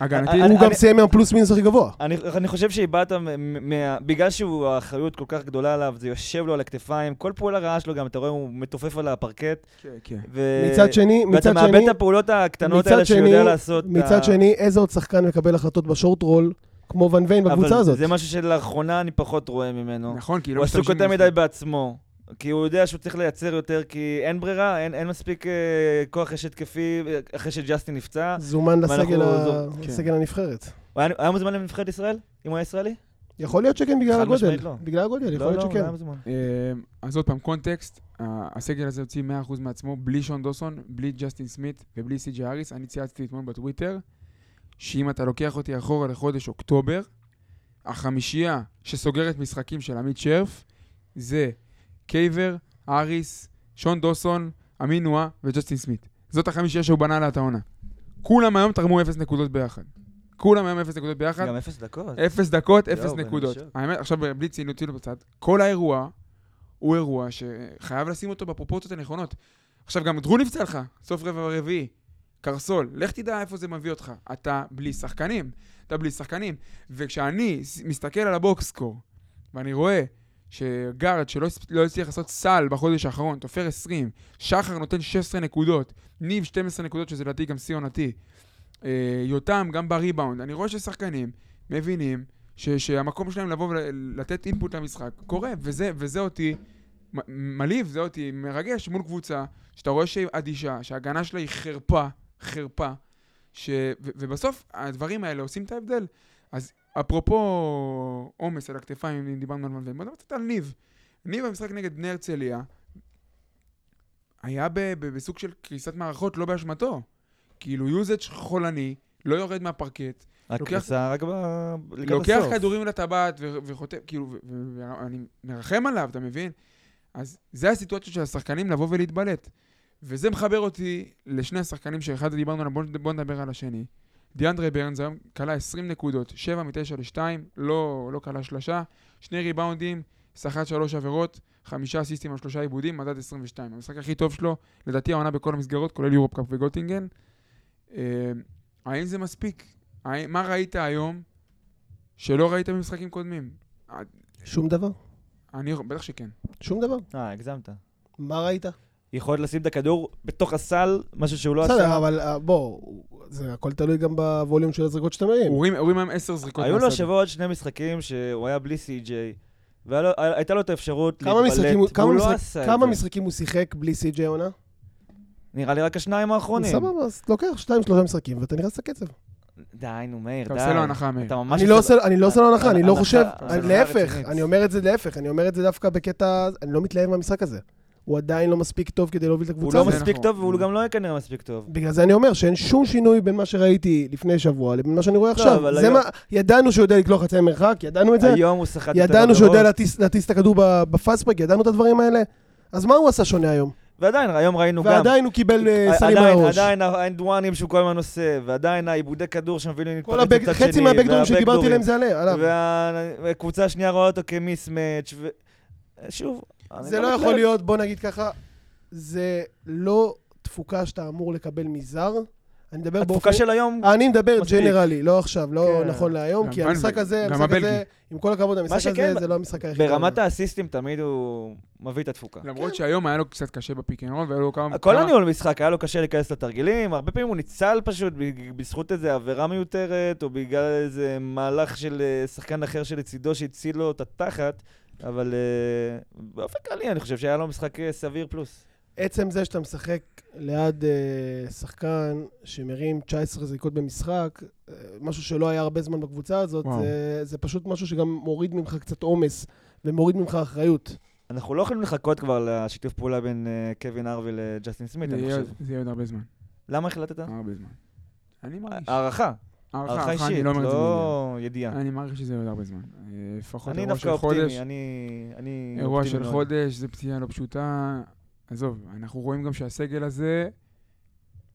Speaker 3: הגנתי.
Speaker 4: אני-
Speaker 5: הוא גם
Speaker 4: אני-
Speaker 5: סיים עם הפלוס מינוס הכי גבוה.
Speaker 4: אני, אני חושב שאיבדת, מ- מ- מה- בגלל שהוא, האחריות כל כך גדולה עליו, זה יושב לו על הכתפיים, כל פעולה רעה שלו גם, אתה רואה, הוא מתופף על הפרקט,
Speaker 3: כן, כן.
Speaker 4: ו...
Speaker 5: מצד שני,
Speaker 4: אה, ואתה
Speaker 5: מצד
Speaker 4: מאבד
Speaker 5: שני,
Speaker 4: את הפעולות הקטנות
Speaker 5: מצד
Speaker 4: האלה שהוא
Speaker 5: שני-
Speaker 4: יודע לעשות.
Speaker 5: מצד
Speaker 4: ה-
Speaker 5: שני, איזה עוד שחקן מקבל החלטות בשורט רול, כמו ון ויין
Speaker 4: אבל
Speaker 5: בקבוצה הזאת?
Speaker 4: זה משהו שלאחרונה אני פחות רואה ממנו.
Speaker 3: נכון, כי לא
Speaker 4: הוא עסוק
Speaker 3: משתמשים
Speaker 4: יותר
Speaker 3: בזה.
Speaker 4: מדי בעצמו. כי הוא יודע שהוא צריך לייצר יותר, כי אין ברירה, אין, אין מספיק אה, כוח אש התקפי אה, אחרי שג'סטין נפצע.
Speaker 5: זומן
Speaker 4: ואנחנו-
Speaker 5: לסגל ה-
Speaker 4: זו-
Speaker 3: כן.
Speaker 5: לסגל הנבחרת.
Speaker 4: הוא היה, הוא היה מוזמן לנבחרת ישראל? אם הוא היה ישראלי?
Speaker 5: יכול להיות שכן בגלל
Speaker 4: חד
Speaker 5: הגודל.
Speaker 4: משמעית לא.
Speaker 5: בגלל הגודל, יכול להיות
Speaker 4: לא, לא, הוא
Speaker 5: שכן.
Speaker 4: היה מוזמן.
Speaker 3: אה, אז עוד פעם, קונטקסט, ה- הסגל הזה הוציא 100% מעצמו, בלי שון דוסון, בלי ג'סטין סמית ובלי סי.ג'י האריס. אני צייצתי אתמול בטוויטר, שאם אתה לוקח אותי אחורה לחודש אוקטובר, החמישייה שסוגרת משחקים של עמית שרף, זה קייבר, האריס, שון דוסון, אמין נועה וג'סטין סמית. זאת החמישייה שהוא בנה לה את העונה. כולם היום תרמו 0 נקודות ביחד. כולם היום 0 נקודות ביחד.
Speaker 4: גם אפס דקות.
Speaker 3: אפס דקות, אפס
Speaker 4: יואו, בן
Speaker 3: נקודות.
Speaker 4: אשר.
Speaker 3: האמת, עכשיו בלי ציניות ציניות בצד, כל האירוע הוא אירוע שחייב לשים אותו בפרופורציות הנכונות. עכשיו, גם דרור נפצע לך, סוף רבע רביעי. קרסול, לך תדע איפה זה מביא אותך. אתה בלי שחקנים, אתה בלי שחקנים. וכשאני ס- מסתכל על הבוקסקור, ואני רואה שגארד, שלא הספ- לא הצליח לעשות סל בחודש האחרון, תופר 20, שחר נותן 16 נקודות, ניב 12 נקודות, שזה לדעתי גם שיא עונתי, אה, יותם גם בריבאונד, אני רואה ששחקנים מבינים ש- שהמקום שלהם לבוא ולתת אינפוט למשחק קורה, וזה, וזה אותי מ- מלהיב, זה אותי מרגש מול קבוצה שאתה רואה שהיא אדישה, שההגנה שלה היא חרפה, חרפה, ש... ו- ובסוף הדברים האלה עושים את ההבדל. אז אפרופו עומס על הכתפיים, אם דיברנו על מלווים, בוא נדבר קצת על ניב. ניב במשחק נגד בני הרצליה היה ב- ב- בסוג של קריסת מערכות לא באשמתו. כאילו יוזץ' חולני, לא יורד מהפרקט,
Speaker 4: רק
Speaker 3: לוקח-
Speaker 4: קריסה, רק ב... לקראת
Speaker 3: לוקח
Speaker 4: הסוף.
Speaker 3: כדורים לטבעת ו- וחוטף, כאילו, ו- ו- ואני מרחם עליו, אתה מבין? אז זה הסיטואציה של השחקנים לבוא ולהתבלט. וזה מחבר אותי לשני השחקנים שאחד דיברנו עליו, בואו בוא נדבר על השני. דיאנדרי ברנס היום כלה 20 נקודות, 7 מ-9 ל-2, לא, לא כלה שלשה, שני ריבאונדים, סחט שלוש עבירות, חמישה אסיסטים על שלושה עיבודים, מדד 22. המשחק הכי טוב שלו, לדעתי העונה בכל המסגרות, כולל יורופ קאפ וגוטינגן. אה, האם זה מספיק? האם- מה ראית היום שלא ראית במשחקים קודמים?
Speaker 5: שום דבר.
Speaker 3: אני, בטח שכן.
Speaker 5: שום דבר.
Speaker 4: אה, הגזמת.
Speaker 5: מה ראית?
Speaker 4: לא יכולת לשים את הכדור בתוך הסל, משהו שהוא לא עשה.
Speaker 5: בסדר, אבל אה, בוא, זה הכל תלוי גם בווליום של הזריקות שאתה מרים.
Speaker 3: רואים רואים היום עשר זריקות
Speaker 4: כן. היו לו
Speaker 3: מהשדה.
Speaker 4: השבוע עוד שני משחקים שהוא היה בלי סי.ג'יי, והייתה לו את האפשרות
Speaker 5: כמה
Speaker 4: להתבלט,
Speaker 5: משחקים הוא- כמה
Speaker 4: והוא לא
Speaker 5: משחק-
Speaker 4: עשה את
Speaker 5: כמה
Speaker 4: זה.
Speaker 5: משחקים הוא שיחק בלי סי.ג'יי עונה?
Speaker 4: נראה לי רק השניים האחרונים.
Speaker 5: סבבה, אז לוקח שניים, שלושה משחקים ואתה נכנס לקצב.
Speaker 4: די, נו, מאיר, די.
Speaker 3: אתה עושה לו הנחה, מאיר.
Speaker 4: אתה ממש...
Speaker 5: אני לא עושה- אני לא עושה
Speaker 4: אה,
Speaker 5: לו הנחה, אני לא
Speaker 4: הנחה-
Speaker 5: חושב,
Speaker 4: הנחה
Speaker 5: להפך,
Speaker 4: רצינית.
Speaker 5: אני אומר את זה להפך, אני אומר את זה דווקא בקטע, אני לא מתלהב מהמשחק הזה. הוא עדיין לא מספיק טוב כדי להוביל את
Speaker 4: הוא
Speaker 5: הקבוצה
Speaker 4: לא
Speaker 5: הזאת.
Speaker 4: מספיק
Speaker 3: נכון.
Speaker 4: טוב, והוא גם לא יהיה כנראה מספיק טוב.
Speaker 5: בגלל זה אני אומר שאין שום שינוי בין מה שראיתי לפני שבוע לבין מה שאני רואה
Speaker 4: לא,
Speaker 5: עכשיו.
Speaker 4: אבל
Speaker 5: זה
Speaker 4: היום-
Speaker 5: מה, ידענו שהוא יודע לקלוע חצי מרחק, ידענו את זה,
Speaker 4: היום לא הוא סחט את
Speaker 5: ידענו שהוא יודע
Speaker 4: העבירות,
Speaker 5: להטיס- להטיס את הכדור ב- בפאסטברג, ידענו את הדברים האלה. אז מה הוא עשה שונה היום?
Speaker 4: ועדיין, היום ראינו גם...
Speaker 5: ועדיין הוא קיבל אה, סלים על
Speaker 4: עדיין,
Speaker 5: הראש.
Speaker 4: עדיין האנדואנים שהוא כל הזמן עושה, ועדיין העיבודי כדור שמביאים לי
Speaker 5: כל הבק- חצי מהבקדורים שדיברתי עליהם זה עליה, עליו.
Speaker 4: וה- והקבוצה השנייה רואה אותו כמיסמץ', ו... שוב, אני
Speaker 5: זה לא
Speaker 4: מתלהב.
Speaker 5: יכול להיות, בוא נגיד ככה, זה לא תפוקה שאתה אמור לקבל מזר. אני מדבר באופן...
Speaker 4: התפוקה של היום,
Speaker 5: אני מדבר
Speaker 4: מספיק.
Speaker 5: ג'נרלי, לא עכשיו, לא
Speaker 4: כן.
Speaker 5: נכון להיום,
Speaker 3: גם
Speaker 5: כי
Speaker 3: בן-
Speaker 5: המשחק הזה,
Speaker 3: גם
Speaker 5: המשחק הזה,
Speaker 3: הבלגי.
Speaker 5: עם כל הכבוד, המשחק הזה
Speaker 4: שכן,
Speaker 5: זה לא המשחק היחיד.
Speaker 4: ברמת האסיסטים תמיד הוא מביא את התפוקה.
Speaker 3: למרות שהיום היה לו קצת קשה בפיק אנד רול, והיו לו כמה...
Speaker 4: כל
Speaker 3: כמה-
Speaker 4: הניהול משחק, היה לו קשה להיכנס לתרגילים, הרבה פעמים הוא ניצל פשוט בג- בזכות איזה עבירה מיותרת, או בגלל איזה מהלך של אה, שחקן אחר שלצידו שהציל לו את התחת, אבל אה, באופן כללי אני חושב שהיה לו משחק אה, סביר פלוס.
Speaker 5: עצם זה שאתה משחק ליד אה, שחקן שמרים 19 זריקות במשחק, אה, משהו שלא היה הרבה זמן בקבוצה הזאת,
Speaker 3: וואו.
Speaker 5: זה- זה פשוט משהו שגם מוריד ממך קצת עומס ומוריד ממך אחריות.
Speaker 4: אנחנו לא יכולים לחכות כבר לשיתוף פעולה בין אה, קווין ארווי לג'סטין סמית,
Speaker 3: זה
Speaker 4: אני
Speaker 3: יהיה-
Speaker 4: חושב.
Speaker 3: זה יהיה עוד הרבה זמן.
Speaker 4: למה החלטת?
Speaker 3: הרבה זמן. אני מרגיש.
Speaker 4: הערכה,
Speaker 3: הערכה,
Speaker 4: אה, הערכה
Speaker 3: הערכה, אני
Speaker 4: אישית,
Speaker 3: לא אומר את זה מידיעה.
Speaker 4: לא ידיעה.
Speaker 3: אני מעריך שזה יהיה עוד הרבה זמן. אה, לפחות
Speaker 4: אני
Speaker 3: אירוע
Speaker 4: דווקא
Speaker 3: של חודש.
Speaker 4: אופטימי, אני... אני
Speaker 3: אירוע
Speaker 4: אופטימי
Speaker 3: של
Speaker 4: מאוד.
Speaker 3: חודש, זו פציעה לא פשוטה. עזוב, אנחנו רואים גם שהסגל הזה,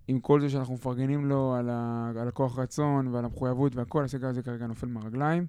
Speaker 3: עם כל זה שאנחנו מפרגנים לו על, ה... על הכוח רצון ועל המחויבות והכל, הסגל הזה כרגע נופל מהרגליים.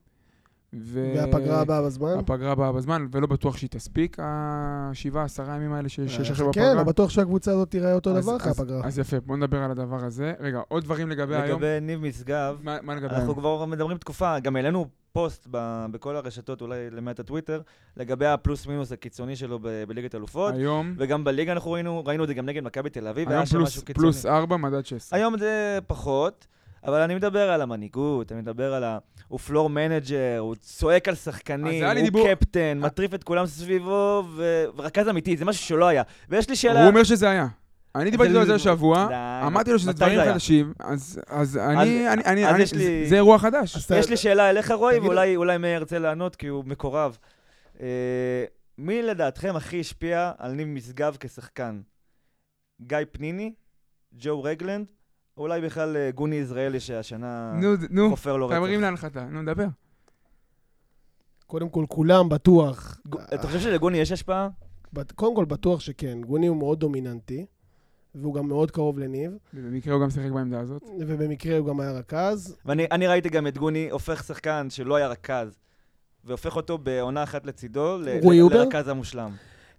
Speaker 3: ו...
Speaker 5: והפגרה הבאה בזמן.
Speaker 3: הפגרה באה בזמן, ולא בטוח שהיא תספיק, השבעה, עשרה ימים האלה ש- שיש עכשיו בפגרה.
Speaker 5: כן, לא בטוח שהקבוצה הזאת תיראה אותו
Speaker 3: אז-
Speaker 5: דבר אחרי
Speaker 3: אז-
Speaker 5: הפגרה.
Speaker 3: אז יפה, בוא נדבר על הדבר הזה. רגע, עוד דברים לגבי היום?
Speaker 4: לגבי ניב משגב,
Speaker 3: מה מה לגבי היום?
Speaker 4: אנחנו כבר מדברים תקופה, גם העלינו פוסט ב- בכל הרשתות, אולי למעט הטוויטר, לגבי הפלוס מינוס הקיצוני שלו ב- בליגת אלופות,
Speaker 3: היום,
Speaker 4: וגם בליגה אנחנו ראינו, ראינו את זה גם נגד מכבי תל אביב,
Speaker 3: היום
Speaker 4: היה שם
Speaker 3: פלוס-
Speaker 4: משהו קיצוני.
Speaker 3: פלוס ארבע, מדד שש.
Speaker 4: היום זה פחות, אבל אני מדבר על המנהיגות, אני מדבר על ה... הוא פלור מנג'ר, הוא צועק על
Speaker 3: אז
Speaker 4: שחקנים,
Speaker 3: היה לי
Speaker 4: הוא
Speaker 3: דיבור-
Speaker 4: קפטן, מטריף את כולם סביבו, ו... ורכז אמיתי, זה משהו שלא היה. ויש לי שאלה...
Speaker 3: הוא אומר שזה היה. אני דיברתי איתו על זה
Speaker 4: די,
Speaker 3: השבוע, אמרתי לו שזה
Speaker 4: מתי
Speaker 3: דברים
Speaker 4: זה היה?
Speaker 3: חדשים, אז- אז אני, אני- אני,
Speaker 4: אז
Speaker 3: אני-
Speaker 4: יש לי-
Speaker 3: זה- זה אירוע חדש.
Speaker 5: אז
Speaker 4: יש לי שאלה אליך, רועי,
Speaker 5: תגיד-
Speaker 4: ואולי אולי מאיר ירצה לענות, כי הוא מקורב. אה, מי לדעתכם הכי השפיע על ניב משגב כשחקן? גיא פניני? ג'ו רגלנד? או אולי בכלל אה, גוני יזרעאלי שהשנה
Speaker 3: נו, נו,
Speaker 4: חופר לו
Speaker 3: אתה מרים
Speaker 4: רצח?
Speaker 3: להנחתה, נו, דבר.
Speaker 5: קודם כל, כולם בטוח.
Speaker 4: גו- אתה חושב שלגוני יש השפעה?
Speaker 5: בט- קודם כל, בטוח שכן. גוני הוא מאוד דומיננטי, והוא גם מאוד קרוב לניב,
Speaker 3: במקרה הוא גם שיחק בעמדה הזאת.
Speaker 5: ובמקרה הוא גם היה רכז.
Speaker 4: ואני אני ראיתי גם את גוני הופך שחקן שלא היה רכז, והופך אותו בעונה אחת לצידו ל-
Speaker 5: רועי
Speaker 4: ל-
Speaker 5: הובר?
Speaker 4: לרכז המושלם.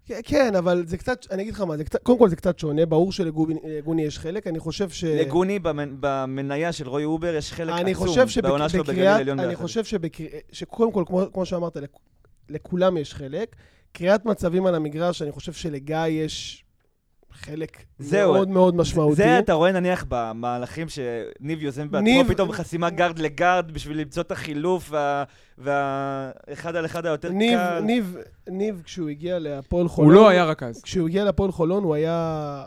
Speaker 5: כן, כן, אבל זה קצת, אני אגיד לך מה, זה קצת, קודם כל זה קצת שונה, ברור שלגוני יש חלק, אני חושב ש...
Speaker 4: לגוני במנ- במניה של רוי אובר יש חלק
Speaker 5: אה. אני
Speaker 4: עצום
Speaker 5: חושב שבק-
Speaker 4: בעונה שלו בגליל
Speaker 5: בקריאת-
Speaker 4: עליון.
Speaker 5: אני
Speaker 4: ביחד.
Speaker 5: חושב שבקר- שקודם כל, כמו, כמו שאמרת, לכ- לכולם יש חלק. קריאת מצבים על המגרש, אני חושב שלגיא יש חלק
Speaker 4: זהו.
Speaker 5: מאוד מאוד משמעותי.
Speaker 4: זה אתה רואה נניח במהלכים שניב יוזם בעצמו,
Speaker 5: ניב-
Speaker 4: פתאום חסימה גארד לגארד בשביל למצוא את החילוף וה- והאחד על אחד היותר
Speaker 5: ניב,
Speaker 4: קל.
Speaker 5: ניב, ניב, כשהוא הגיע להפועל חולון...
Speaker 3: הוא לא היה רכז.
Speaker 5: כשהוא הגיע להפועל חולון הוא היה,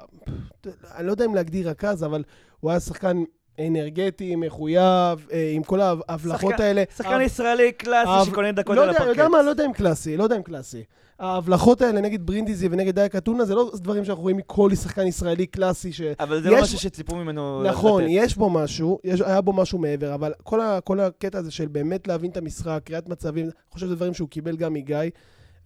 Speaker 5: אני לא יודע אם להגדיר רכז, אבל הוא היה שחקן אנרגטי, מחויב, אה, עם כל ההבלחות
Speaker 4: שחקן-
Speaker 5: האלה.
Speaker 4: שחקן ישראלי
Speaker 5: ההב-
Speaker 4: קלאסי שקונה דקות
Speaker 5: לא
Speaker 4: על
Speaker 5: יודע,
Speaker 4: הפרקט.
Speaker 5: יודע מה, לא יודע אם קלאסי, לא יודע אם קלאסי. ההבלחות האלה נגד ברינדיזי ונגד דייק אתונה זה לא דברים שאנחנו רואים מכל שחקן ישראלי קלאסי ש...
Speaker 4: אבל זה לא
Speaker 5: יש-
Speaker 4: משהו שציפו ממנו
Speaker 5: נכון,
Speaker 4: לתת.
Speaker 5: יש בו משהו, יש, היה בו משהו מעבר, אבל כל, ה, כל הקטע הזה של באמת להבין את המשחק, קריאת מצבים, אני חושב שזה דברים שהוא קיבל גם מגיא,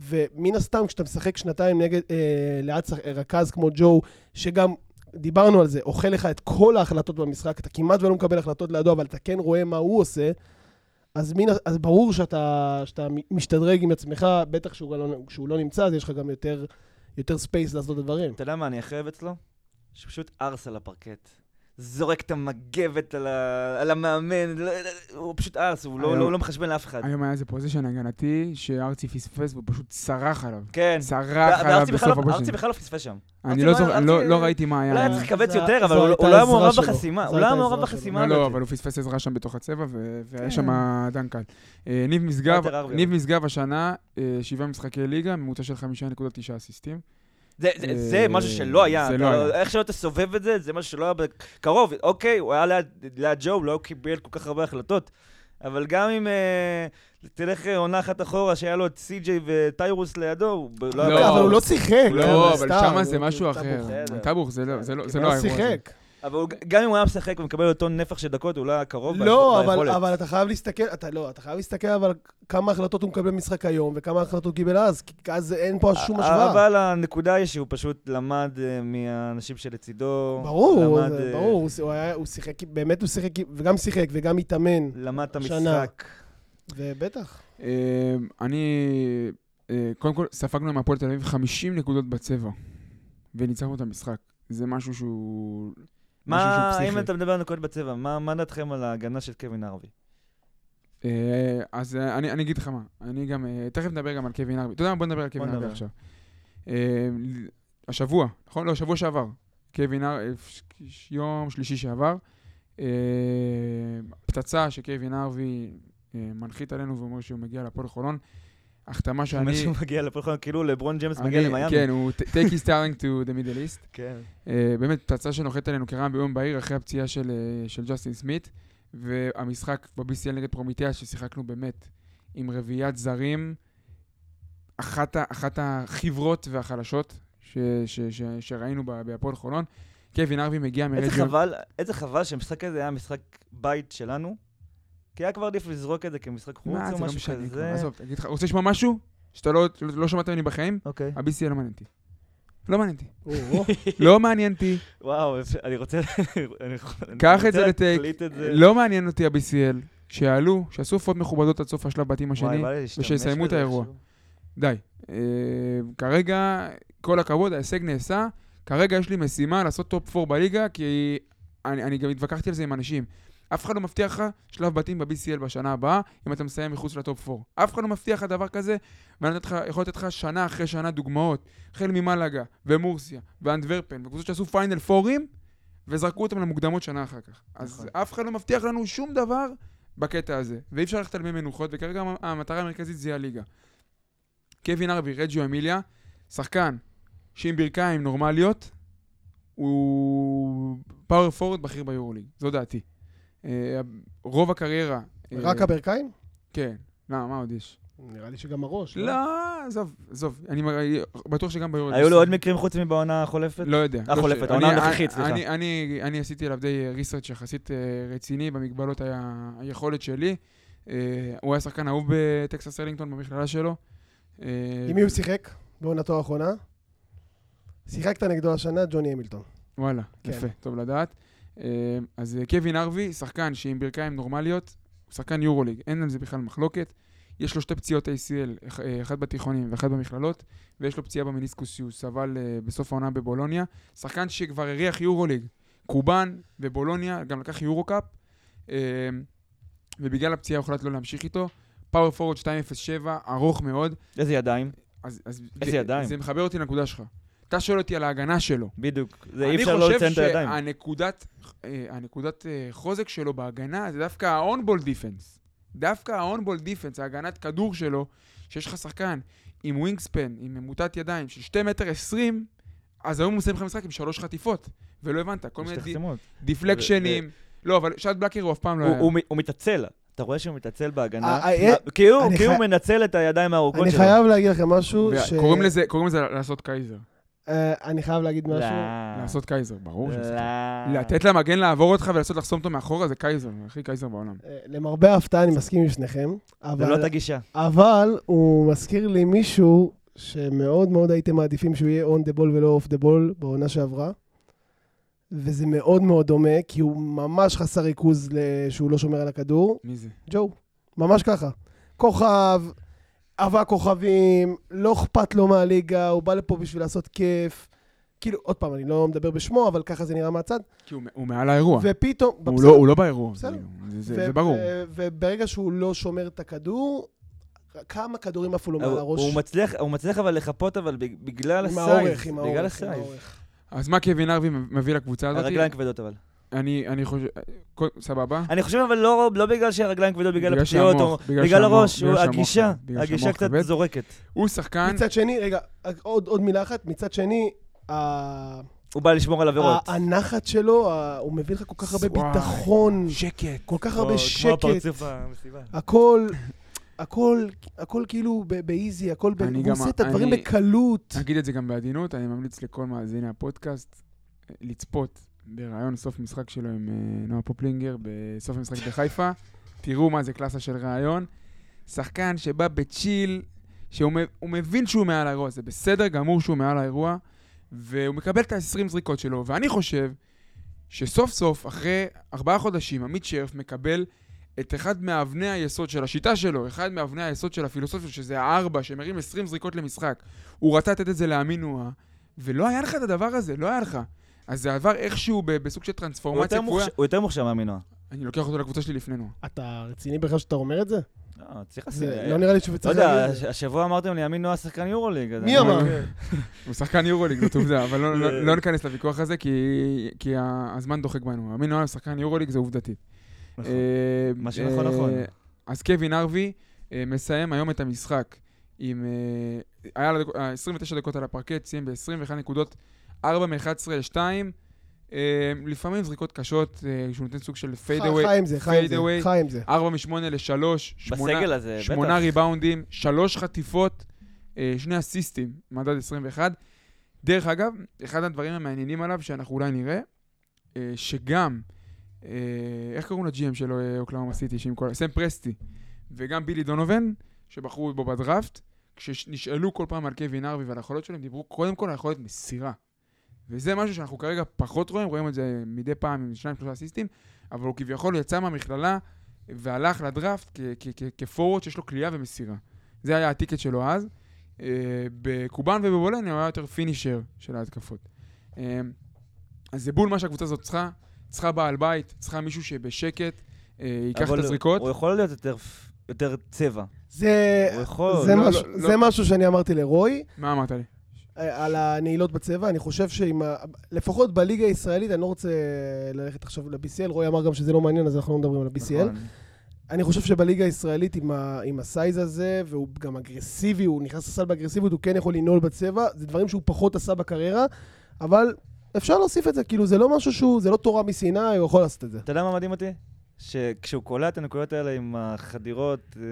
Speaker 5: ומן הסתם כשאתה משחק שנתיים נגד, אה, ליד שח- אה, רכז כמו ג'ו, שגם דיברנו על זה, אוכל לך את כל ההחלטות במשחק, אתה כמעט ולא מקבל החלטות לידו, אבל אתה כן רואה מה הוא עושה, אז, מן, ה- אז ברור שאתה, שאתה מ- משתדרג עם עצמך, בטח כשהוא לא, כשהוא לא נמצא, אז יש לך גם יותר, יותר ספייס לעשות את הדברים.
Speaker 4: אתה יודע מה אני הכי אוהב אצלו? שפשוט ארס על הפרקט. זורק את המגבת על, ה... על המאמן, לא- הוא פשוט ארס, הוא לא,
Speaker 3: היום-
Speaker 4: לא, לא מחשבן לאף אחד.
Speaker 3: היום היה איזה פוזיישן הגנתי שארצי פספס והוא פשוט סרח עליו.
Speaker 4: כן.
Speaker 3: סרח
Speaker 4: וה-
Speaker 3: עליו
Speaker 4: וארצי
Speaker 3: בסוף
Speaker 4: בכלל לא-
Speaker 3: הפוזיישן.
Speaker 4: ארצי בכלל לא פספס שם.
Speaker 3: אני
Speaker 4: ארצי
Speaker 3: לא
Speaker 4: לא-
Speaker 3: זוכר,
Speaker 4: ארצי-
Speaker 3: לא לא ראיתי מה
Speaker 4: אולי היה
Speaker 3: היה.
Speaker 4: צריך לכווץ
Speaker 5: אה, זה-
Speaker 4: יותר, אבל
Speaker 5: זו
Speaker 4: הוא לא-
Speaker 5: הייתה
Speaker 4: הוא לא היה
Speaker 5: העזרה
Speaker 4: מעורב
Speaker 5: שלו.
Speaker 4: בחסימה.
Speaker 5: זו
Speaker 4: הוא לא היה
Speaker 5: הייתה
Speaker 4: מעורב
Speaker 5: העזרה שלו.
Speaker 4: בחסימה
Speaker 3: לא, לא,
Speaker 4: הזאת.
Speaker 3: אבל הוא פספס עזרה שם בתוך הצבע, ו-
Speaker 4: כן.
Speaker 3: והיה שם דנקל. אה, ניב משגב,
Speaker 4: פייטר ארבל.
Speaker 3: ניב משגב השנה, אה, שבעה משחקי ליגה, ממוצע של 5.9 אסיסטים.
Speaker 4: זה, זה, זה
Speaker 3: אה,
Speaker 4: משהו שלא היה.
Speaker 3: זה
Speaker 4: אתה-
Speaker 3: לא היה.
Speaker 4: איך שלא תסובב את זה, זה משהו שלא היה בקרוב. אוקיי, הוא היה ליד, ליד ג'ו, הוא לא קיבל כל כך הרבה החלטות. אבל גם אם אה, תלך אה, עונה אחת אחורה, שהיה לו את סי.ג'יי וטיירוס לידו, הוא ב- לא היה...
Speaker 3: לא,
Speaker 5: אבל
Speaker 4: בעיה.
Speaker 5: הוא לא שיחק.
Speaker 3: לא, אבל
Speaker 5: סתם,
Speaker 3: שמה זה
Speaker 5: הוא-
Speaker 3: משהו
Speaker 5: הוא-
Speaker 3: אחר.
Speaker 4: בסדר. כן,
Speaker 3: טאבוך, זה לא- זה לא זה לא
Speaker 5: הוא
Speaker 3: האירוע. הזה.
Speaker 5: שיחק.
Speaker 4: אבל הוא, גם אם הוא היה משחק ומקבל אותו נפח של דקות, הוא לא היה קרוב
Speaker 5: לא,
Speaker 4: ביכול-
Speaker 5: אבל,
Speaker 4: ביכולת.
Speaker 5: אבל אתה חייב להסתכל, אתה לא, אתה חייב להסתכל אבל כמה החלטות הוא מקבל במשחק היום וכמה החלטות הוא קיבל אז, כי אז אין פה שום השוואה.
Speaker 4: אבל הנקודה היא שהוא פשוט למד אה, מהאנשים שלצידו.
Speaker 5: ברור,
Speaker 4: למד,
Speaker 5: זה-
Speaker 4: אה,
Speaker 5: ברור, הוא ש- הוא היה- הוא שיחק, באמת הוא שיחק, וגם שיחק וגם התאמן,
Speaker 4: למד את
Speaker 5: שנה.
Speaker 4: המשחק.
Speaker 5: ובטח.
Speaker 3: אה, אני, אה, קודם כל, ספגנו מהפועל תל אביב 50 נקודות בצבע, וניצחנו את המשחק. זה משהו שהוא... משהו שהוא
Speaker 4: מה, אם
Speaker 3: פסיכי.
Speaker 4: אתה מדבר על נקודות בצבע, מה מה דעתכם על ההגנה של קווין ארווי?
Speaker 3: אה, אז אה, אני, אני אגיד לך מה, אני גם, אה, תכף נדבר גם על קווין ארבי. אתה יודע מה? בוא נדבר על קווין
Speaker 4: בוא
Speaker 3: ארבי
Speaker 4: נדבר.
Speaker 3: עכשיו. אה, ל- השבוע, נכון? לא, שבוע שעבר. קווין ארבי, יום שלישי שעבר. אה, פצצה שקווין ארבי אה, מנחית עלינו ואומר שהוא מגיע לפועל חולון. החתמה
Speaker 4: שאני...
Speaker 3: שאני...
Speaker 4: מישהו מגיע לפועל חולון, כאילו לברון ג'יימס
Speaker 3: אני-
Speaker 4: מגיע למיאמי.
Speaker 3: כן, הוא t- take his starring to the middle east.
Speaker 4: כן.
Speaker 3: אה, באמת, פצצה שנוחת עלינו כרעם ביום בהיר אחרי הפציעה של, אה, של ג'סטין סמית, והמשחק ב-BCL נגד פרומיטיה, ששיחקנו באמת עם רביעיית זרים, אחת, ה- אחת החברות והחלשות ש, ש, ש, שראינו ב- בהפועל חולון. קווין ארווי מגיע
Speaker 4: איזה
Speaker 3: מרג'יון.
Speaker 4: חבל, איזה חבל שהמשחק הזה היה משחק בית שלנו, כי היה כבר עדיף לזרוק את זה כמשחק חוץ
Speaker 3: מה,
Speaker 4: או
Speaker 3: זה לא
Speaker 4: משהו
Speaker 3: משנה כבר,
Speaker 4: כזה.
Speaker 3: עזוב, תגיד לך, רוצה לשמוע משהו? שאתה לא, לא, לא שמעת ממני בחיים?
Speaker 4: אוקיי.
Speaker 3: ה-BCL לא מעניין אותי. לא מעניין אותי.
Speaker 5: או,
Speaker 4: [laughs]
Speaker 5: או.
Speaker 3: לא מעניין אותי.
Speaker 4: וואו, אפשר- אני רוצה... אני
Speaker 3: קח
Speaker 4: רוצה
Speaker 3: את זה לטייק.
Speaker 4: להקליט את זה.
Speaker 3: לא מעניין אותי ה-BCL. שיעלו, שיעשו הופעות מכובדות עד סוף השלב בתים
Speaker 4: וואי,
Speaker 3: השני.
Speaker 4: בא לי להשתמש
Speaker 3: לא, ושיסיימו את
Speaker 4: בזה
Speaker 3: האירוע.
Speaker 4: איכשהו.
Speaker 3: די. אה, כרגע, כל הכבוד, ההישג נעשה. כרגע יש לי משימה לעשות טופ 4 בליגה, כי אני, אני גם התווכחתי על זה עם אנשים. אף אחד לא מבטיח לך שלב בתים ב-BCL בשנה הבאה, אם אתה מסיים מחוץ לטופ 4. אף אחד לא מבטיח לך דבר כזה, ואני נותן לך- יכול לתת לך שנה אחרי שנה דוגמאות, החל ממלאגה, ומורסיה, ואנדברפן, וקבוצות שעשו פיינל פורים, וזרקו אותם למוקדמות שנה אחר כך. אז
Speaker 4: נכון.
Speaker 3: אף אחד לא מבטיח לנו שום דבר בקטע הזה, ואי אפשר ללכת על מי מנוחות, וכרגע המ- המטרה המרכזית זה הליגה. קווין ארווי, רג'יו אמיליה, שחקן שעם ברכיים נורמליות, הוא פאוור פורד בכיר ביורוליג, זו דעתי. אה, רוב הקריירה... אה,
Speaker 5: רק הברכיים?
Speaker 3: כן. לא, מה עוד יש?
Speaker 5: נראה לי שגם הראש.
Speaker 3: לא, עזוב, עזוב. אני מ- בטוח שגם ביורוליג.
Speaker 4: היו לו עוד מקרים חוץ מבעונה החולפת?
Speaker 3: לא יודע.
Speaker 4: אה,
Speaker 3: לא
Speaker 4: חולפת,
Speaker 3: ש-
Speaker 4: העונה
Speaker 3: אני-
Speaker 4: הנוכחית,
Speaker 3: אני-
Speaker 4: סליחה.
Speaker 3: אני- אני- אני עשיתי עליו די ריסרצ' יחסית אה, רציני במגבלות ה- היכולת שלי. אה, הוא היה שחקן אהוב בטקסס רלינגטון במכללה שלו. אה,
Speaker 5: עם מי הוא שיחק בעונתו האחרונה? שיחקת נגדו השנה, ג'וני המילטון.
Speaker 3: וואלה,
Speaker 5: כן.
Speaker 3: כן. יפה, טוב לדעת. אה, אז אה, קווין ארווי, שחקן שעם ברכיים נורמליות, הוא שחקן יורוליג, אין על זה בכלל מחלוקת. יש לו שתי פציעות ACL, אח- אה, אחת בתיכונים ואחת במכללות, ויש לו פציעה במיניסקוס שהוא סבל אה, בסוף העונה בבולוניה. שחקן שכבר הריח יורוליג, קובאן ובולוניה, גם לקח יורו קאפ, אה, ובגלל הפציעה הוחלט לא להמשיך איתו. פאוור פורד 207, ארוך מאוד.
Speaker 4: איזה ידיים?
Speaker 3: אז, אז
Speaker 4: איזה
Speaker 3: זה-
Speaker 4: ידיים.
Speaker 3: זה מחבר אותי לנקודה שלך. אתה שואל אותי על ההגנה שלו.
Speaker 4: בדיוק. זה אי אפשר לא לציין את הידיים.
Speaker 3: אני חושב שהנקודת אה, חוזק שלו בהגנה זה דווקא האונבול דיפנס. דווקא האונבול דיפנס, ההגנת כדור שלו, שיש לך שחקן עם ווינגספן, עם ממוטת ידיים של 2 מטר 20, אז היום הוא מסיים לך משחק עם שלוש חטיפות, ולא הבנת, כל
Speaker 4: יש
Speaker 3: מיני
Speaker 4: לך
Speaker 3: די-
Speaker 4: חסימות.
Speaker 3: דיפלקשנים. לא, אבל שעד בלקר הוא אף פעם לא
Speaker 4: הוא-
Speaker 3: היה.
Speaker 4: הוא מ- הוא מתעצל. אתה רואה שהוא מתעצל בהגנה,
Speaker 5: אה, אה,
Speaker 4: כי הוא-
Speaker 5: אני
Speaker 4: כי הוא
Speaker 5: חי-
Speaker 4: מנצל את הידיים הארוכות
Speaker 5: אני
Speaker 4: שלו.
Speaker 5: חייב להגיד לכם משהו,
Speaker 3: וה-
Speaker 5: ש...
Speaker 3: קוראים לזה- קוראים לזה לעשות קייזר.
Speaker 5: אה, אני חייב להגיד
Speaker 4: לא.
Speaker 5: משהו.
Speaker 3: לעשות קייזר, ברור שזה
Speaker 4: לא.
Speaker 3: שחקן. לתת למגן לעבור אותך ולנסות לחסום אותו מאחורה זה קייזר, הכי קייזר בעולם.
Speaker 5: אה, למרבה ההפתעה, אני מסכים עם שניכם,
Speaker 4: זה לא
Speaker 5: אבל,
Speaker 4: את הגישה.
Speaker 5: אבל הוא מזכיר לי מישהו שמאוד מאוד הייתם מעדיפים שהוא יהיה on the ball ולא off the ball בעונה שעברה, וזה מאוד מאוד דומה, כי הוא ממש חסר ריכוז ל- שהוא לא שומר על הכדור,
Speaker 3: מי זה?
Speaker 5: ג'ו, ממש ככה. כוכב, אבק כוכבים, לא אכפת לו מהליגה, הוא בא לפה בשביל לעשות כיף. כאילו, עוד פעם, אני לא מדבר בשמו, אבל ככה זה נראה מהצד.
Speaker 3: כי הוא מ- הוא מעל האירוע.
Speaker 5: ופתאום...
Speaker 3: הוא
Speaker 5: בסדר,
Speaker 3: לא, הוא לא באירוע,
Speaker 5: בסדר.
Speaker 3: כאילו, זה, זה,
Speaker 5: ו- אה,
Speaker 3: זה ברור.
Speaker 5: ו- וברגע שהוא לא שומר את הכדור, כמה כדורים עפו לו
Speaker 4: הוא-
Speaker 5: מעל הראש.
Speaker 4: הוא מצליח- הוא מצליח אבל לחפות, אבל בג- בגלל
Speaker 5: עם
Speaker 4: הסייז.
Speaker 5: האורך, עם
Speaker 4: בגלל
Speaker 5: האורך, עם
Speaker 4: הסייז.
Speaker 5: האורך.
Speaker 3: אז מה קווין ארווי מביא לקבוצה הזאת?
Speaker 4: הרגליים כבדות אבל.
Speaker 3: אני, אני חושב... כל- סבבה?
Speaker 4: אני חושב אבל לא, לא בגלל שהרגליים כבדות, בגלל
Speaker 3: בגלל
Speaker 4: הפציעות, או
Speaker 3: שהמוח, בגלל
Speaker 4: בגלל
Speaker 3: שהמוח,
Speaker 4: הראש,
Speaker 3: בגלל
Speaker 4: הוא-
Speaker 3: שהמוח
Speaker 4: הגישה,
Speaker 3: כבד, בגלל
Speaker 4: הגישה
Speaker 3: שהמוח
Speaker 4: קצת
Speaker 3: כבד.
Speaker 4: זורקת.
Speaker 3: הוא שחקן...
Speaker 5: מצד שני, רגע, עוד עוד מילה אחת. מצד שני, ה-
Speaker 4: הוא בא לשמור על עבירות.
Speaker 5: ה- הנחת שלו, ה- הוא מביא לך כל כך הרבה
Speaker 3: וואי.
Speaker 5: ביטחון,
Speaker 3: שקט.
Speaker 5: כל כך
Speaker 4: או-
Speaker 5: הרבה
Speaker 4: כמו
Speaker 5: שקט. אה,
Speaker 4: הפרצוף במסיבה.
Speaker 5: הכל, הכל, הכל כאילו ב- באיזי, הכל ב...
Speaker 3: אני
Speaker 5: הוא
Speaker 3: גם-
Speaker 5: עושה את הדברים
Speaker 3: אני-
Speaker 5: בקלות.
Speaker 3: אגיד את זה גם בעדינות, אני ממליץ לכל מאזיני הפודקאסט אה, לצפות בראיון סוף משחק שלו עם אה, נועה פופלינגר בסוף המשחק בחיפה. תראו מה זה קלאסה של ראיון. שחקן שבא בצ'יל, שהוא מ- הוא מבין שהוא מעל האירוע, זה בסדר גמור שהוא מעל האירוע, והוא מקבל את ה-20 זריקות שלו, ואני חושב שסוף סוף, אחרי ארבעה חודשים, עמית שרף מקבל את אחד מאבני היסוד של השיטה שלו, אחד מאבני היסוד של הפילוסופיה, שזה הארבע, שמרים 20 זריקות למשחק. הוא רצה לתת את זה לאמינואה, ולא היה לך את הדבר הזה, לא היה לך. אז זה עבר איכשהו ב- בסוג של
Speaker 4: הוא יותר
Speaker 3: טרנספורמציה
Speaker 4: מוכשר-
Speaker 3: קבועה.
Speaker 4: הוא יותר מוכשר מהמינוע.
Speaker 3: אני לוקח אותו לקבוצה שלי לפני נועה.
Speaker 5: אתה רציני בכלל שאתה אומר את זה?
Speaker 4: לא, צריך לשים...
Speaker 5: זה לא נראה
Speaker 4: לא
Speaker 5: לי שצריך
Speaker 4: יודע, אה,
Speaker 5: להגיד את זה.
Speaker 4: השבוע אמרתם לי, אמין נועה שחקן יורוליג. אז
Speaker 5: מי
Speaker 4: אני-
Speaker 5: אמר?
Speaker 3: הוא שחקן יורוליג, זאת עובדה, אבל לא- לא- לא ניכנס לוויכוח הזה, כי כי ה- הזמן דוחק בנו. אמין אוהל שחקן יורוליג זה עובדתי.
Speaker 4: נכון.
Speaker 3: אה,
Speaker 4: מה שנכון,
Speaker 3: אה,
Speaker 4: נכון.
Speaker 3: אז קווין ארווי אה, מסיים היום את המשחק עם... אה, היה לו דק- אה, 29 דקות על הפרקט, סיים ב-21 נקודות, 4 מ-11 ל-2. אה, לפעמים זריקות קשות, אה, שהוא נותן סוג של פיידאווי.
Speaker 5: חי עם זה, חי עם זה,
Speaker 3: fadeaway.
Speaker 5: חי עם זה.
Speaker 3: 4 מ-8 ל-3, 8
Speaker 4: בסגל הזה, בטח.
Speaker 3: שמונה ריבאונדים, שלוש חטיפות, אה, שני אסיסטים, מדד 21. דרך אגב, אחד הדברים המעניינים עליו, שאנחנו אולי נראה, אה, שגם, אה, איך קוראים לג'י.אם שלו, אה, אוקלאומה סיטי, שעם כל... סם פרסטי, וגם בילי דונובן, שבחרו בו בדראפט, כשנשאלו כל פעם על קווין ארווי ועל היכולות שלו, הם דיברו קודם כל על יכולת מסירה. וזה משהו שאנחנו כרגע פחות רואים, רואים את זה מדי פעם עם שניים שלושה אסיסטים, אבל הוא כביכול יצא מהמכללה והלך לדראפט כ- כ- כ- כפורוורד שיש לו כליאה ומסירה. זה היה הטיקט שלו אז. אה, בקובאן ובבולניה הוא היה יותר פינישר של ההתקפות. אה, אז זה בול מה שהקבוצה הזאת צריכה, צריכה בעל בית, צריכה מישהו שבשקט אה, ייקח
Speaker 4: אבל
Speaker 3: את הזריקות.
Speaker 4: הוא יכול להיות יותר פ- יותר צבע.
Speaker 5: זה...
Speaker 4: הוא יכול.
Speaker 5: אה, זה
Speaker 3: לא,
Speaker 5: משהו-
Speaker 3: לא,
Speaker 5: זה
Speaker 3: לא.
Speaker 5: משהו שאני אמרתי לרוי,
Speaker 3: מה אמרת לי?
Speaker 5: אה, על הנעילות בצבע. אני חושב שעם ה... לפחות בליגה הישראלית, אני לא רוצה ללכת עכשיו ל-BCL, רוי אמר גם שזה לא מעניין, אז אנחנו לא מדברים על ה-BCL.
Speaker 4: נכון.
Speaker 5: אני חושב שבליגה הישראלית עם, ה, עם הסייז הזה, והוא גם אגרסיבי, הוא נכנס לסל באגרסיביות, הוא כן יכול לנעול בצבע, זה דברים שהוא פחות עשה בקריירה, אבל אפשר להוסיף את זה, כאילו זה לא משהו שהוא, זה לא תורה מסיני, הוא יכול לעשות את זה.
Speaker 4: אתה יודע מה מדהים אותי? שכשהוא קולע את הנקודות האלה עם החדירות, אה,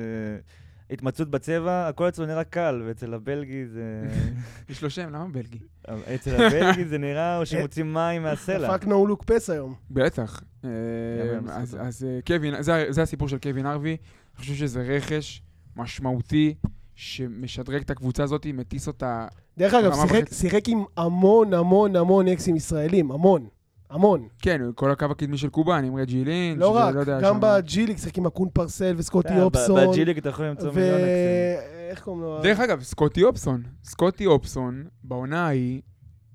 Speaker 4: התמצאות בצבע, הכל אצלו נראה קל, ואצל הבלגי זה...
Speaker 3: יש לו שם, למה בלגי?
Speaker 4: אצל הבלגי זה נראה או שמוצאים מים מהסלע.
Speaker 5: דפקנו הוא לוק פס היום.
Speaker 3: בטח. אה,
Speaker 4: יאמן,
Speaker 3: אז,
Speaker 4: בסדר.
Speaker 3: אז אה, קווין, זה, זה הסיפור של קווין ארווי. אני חושב שזה רכש משמעותי שמשדרג את הקבוצה הזאת, מטיס אותה.
Speaker 5: דרך אגב,
Speaker 3: רמה
Speaker 5: שיחק,
Speaker 3: וחצי.
Speaker 5: שיחק עם המון המון המון אקסים ישראלים, המון. המון.
Speaker 3: כן, כל הקו הקדמי של קובאן, עם רג'י
Speaker 5: [laughs]
Speaker 3: לינץ'.
Speaker 5: לא
Speaker 3: ו-
Speaker 5: רק,
Speaker 3: יודע,
Speaker 5: גם
Speaker 3: שם-
Speaker 5: בג'יליק שיחק עם הקון פרסל וסקוטי
Speaker 4: כן, ב-
Speaker 5: אופסון.
Speaker 4: בג'יליק אתה יכול למצוא מיליון אקסים.
Speaker 5: ואיך קוראים לו?
Speaker 3: דרך אגב, סקוטי אופסון. סקוטי אופסון, בעונה ההיא,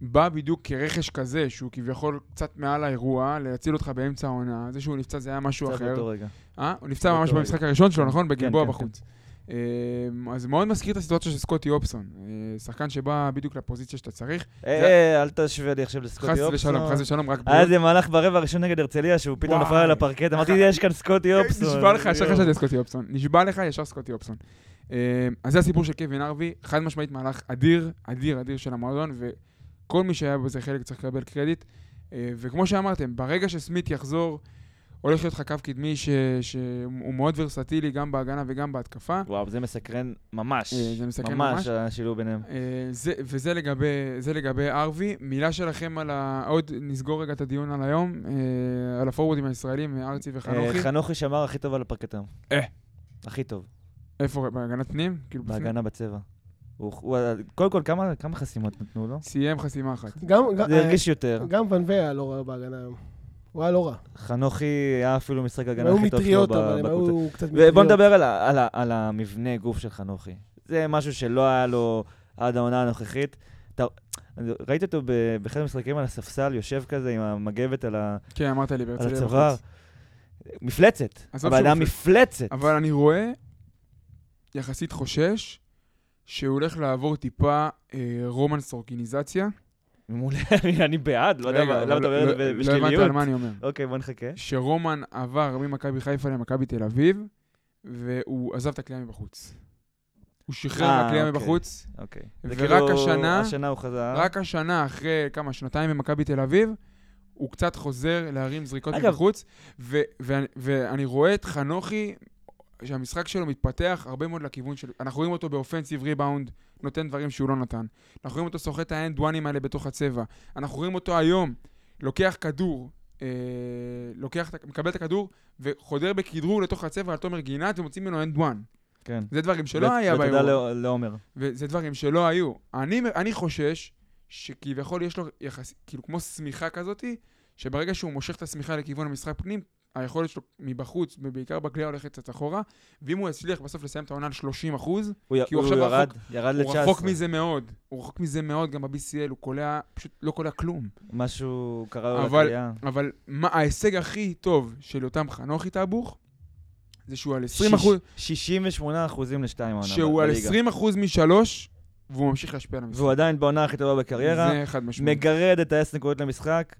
Speaker 3: בא בדיוק כרכש כזה, שהוא כביכול קצת מעל האירוע, להציל אותך באמצע העונה. זה שהוא נפצע זה היה משהו
Speaker 4: קצת
Speaker 3: אחר.
Speaker 4: באותו רגע.
Speaker 3: אה? הוא נפצע
Speaker 4: באותו
Speaker 3: ממש
Speaker 4: רגע.
Speaker 3: במשחק הראשון שלו, נכון? בגלבוע
Speaker 4: כן, כן,
Speaker 3: בחוץ. אמ, אז מאוד מזכיר את הסיטואציה של סקוטי אופסון. אה, שחקן שבא בדיוק לפוזיציה שאתה צריך.
Speaker 4: אה,
Speaker 3: זה-
Speaker 4: אה, אל תשווה לי עכשיו
Speaker 3: חס
Speaker 4: לסקוטי אופסון. אה,
Speaker 3: ושלום, חס ושלום, רק
Speaker 4: היה
Speaker 3: בריאות.
Speaker 4: איזה מהלך ברבע הראשון נגד הרצליה, שהוא פתאום
Speaker 3: וואי.
Speaker 4: נפל על הפרקט, אמרתי, יש כאן
Speaker 3: [laughs]
Speaker 4: סקוטי אופסון.
Speaker 3: נשבע לך, ישר חשבתי על סקוטי אופסון. נשבע לך, ישר סקוטי אופסון. אמ, אז זה הסיפור של קווין ארווי, חד משמעית מהלך אדיר, אדיר, אדיר של המועדון, וכל מי שהיה בזה חלק צריך לקבל קרדיט. אה, וכמו שאמרתם, ברגע שסמית יחזור, הולך להיות לך קו קדמי ש- שהוא מאוד ורסטילי, גם בהגנה וגם בהתקפה.
Speaker 4: וואו, זה מסקרן ממש.
Speaker 3: אה, זה מסקרן ממש.
Speaker 4: ממש, השילוב ביניהם.
Speaker 3: אה, זה, וזה לגבי, זה לגבי ארווי. מילה שלכם על ה... עוד נסגור רגע את הדיון על היום, אה, על הפורוודים הישראלים, אה, ארצי
Speaker 4: אה,
Speaker 3: וחנוכי.
Speaker 4: חנוכי שמר הכי טוב על הפרקט היום.
Speaker 3: אה.
Speaker 4: הכי טוב,
Speaker 3: איפה? בהגנת פנים? כאילו בפנים?
Speaker 4: בהגנה בצבע. הוא- הוא- קודם כל, כמה כמה חסימות נתנו לו?
Speaker 3: סיים חסימה אחת.
Speaker 5: גם- גם-
Speaker 4: זה הרגיש יותר.
Speaker 5: גם ון ויה לא רע בהגנה היום. הוא היה לא רע.
Speaker 4: חנוכי היה אפילו משחק
Speaker 5: הם
Speaker 4: הגנה
Speaker 5: היו
Speaker 4: הכי טוב שלו
Speaker 5: מטריות,
Speaker 4: ב-
Speaker 5: אבל הם
Speaker 4: בקבוצה.
Speaker 5: היו קצת מטריות.
Speaker 4: ובוא נדבר על, ה- על, ה- על המבנה גוף של חנוכי. זה משהו שלא היה לו עד העונה הנוכחית. אתה, אני ראיתי אותו ב- באחד המשחקים על הספסל, יושב כזה עם המגבת על, ה,
Speaker 3: כן, אמרת לי
Speaker 4: על
Speaker 3: בהרצליה
Speaker 4: הצוואר.
Speaker 3: בחוץ.
Speaker 4: מפלצת.
Speaker 3: עזוב שהוא
Speaker 4: הבן אדם
Speaker 3: מפלצת.
Speaker 4: מפלצת.
Speaker 3: אבל אני רואה, יחסית חושש, שהוא הולך לעבור טיפה אה, רומן סורקיניזציה. [laughs]
Speaker 4: מעולה, אני בעד, לא יודע
Speaker 3: רגע,
Speaker 4: מה-
Speaker 3: אבל
Speaker 4: למה אתה אומר
Speaker 3: לא-
Speaker 4: את זה
Speaker 3: לא הבנת
Speaker 4: בשליליות.
Speaker 3: על מה אני אומר.
Speaker 4: אוקיי, בוא נחכה.
Speaker 3: שרומן עבר ממכבי חיפה למכבי תל אביב, והוא עזב את הכלייה מבחוץ. הוא שחרר
Speaker 4: אה,
Speaker 3: מהכלייה
Speaker 4: אוקיי.
Speaker 3: מבחוץ.
Speaker 4: אוקיי.
Speaker 3: ורק
Speaker 4: זה כאילו,
Speaker 3: השנה-
Speaker 4: השנה הוא חזר.
Speaker 3: רק השנה, אחרי כמה, שנתיים במכבי תל אביב, הוא קצת חוזר להרים זריקות
Speaker 4: אגב-
Speaker 3: מבחוץ, ו- ואני- ואני רואה את חנוכי, שהמשחק שלו מתפתח הרבה מאוד לכיוון של... אנחנו רואים אותו באופנסיב ריבאונד, נותן דברים שהוא לא נתן. אנחנו רואים אותו סוחט את האנד וואנים האלה בתוך הצבע. אנחנו רואים אותו היום, לוקח כדור. אה, לוקח, את ה- מקבל את הכדור וחודר בכדרור לתוך הצבע על תומר גינת ומוציא ממנו אנד וואן.
Speaker 4: כן.
Speaker 3: זה דברים שלא
Speaker 4: ו-
Speaker 3: היה באירוע.
Speaker 4: ותודה לא- לעומר.
Speaker 3: וזה דברים שלא היו. אני, אני חושש שכביכול יש לו יחס, כאילו כמו שמיכה כזאתי, שברגע שהוא מושך את השמיכה לכיוון המשחק פנים, היכולת שלו מבחוץ, ובעיקר בכלייה הולכת קצת אחורה, ואם הוא יצליח בסוף לסיים את העונה על 30 אחוז,
Speaker 4: הוא י-
Speaker 3: כי הוא
Speaker 4: הוא
Speaker 3: עכשיו
Speaker 4: ירד ירד
Speaker 3: הוא
Speaker 4: ל-19.
Speaker 3: רחוק מזה מאוד. הוא רחוק מזה מאוד, גם ב-BCL, הוא קולע, פשוט לא קולע כלום.
Speaker 4: משהו קרה לו
Speaker 3: אבל-
Speaker 4: לקריאה.
Speaker 3: אבל מה, ההישג הכי טוב של יותם חנוכי טאבוך, זה שהוא על 20
Speaker 4: שיש-
Speaker 3: אחוז,
Speaker 4: 68 אחוזים לשתיים העונה.
Speaker 3: שהוא על
Speaker 4: בליגה.
Speaker 3: 20 אחוז משלוש, והוא ממשיך להשפיע על המשחק.
Speaker 4: והוא עדיין בעונה הכי טובה בקריירה.
Speaker 3: זה חד משמעית.
Speaker 4: מגרד את ה-10 נקודות למשחק.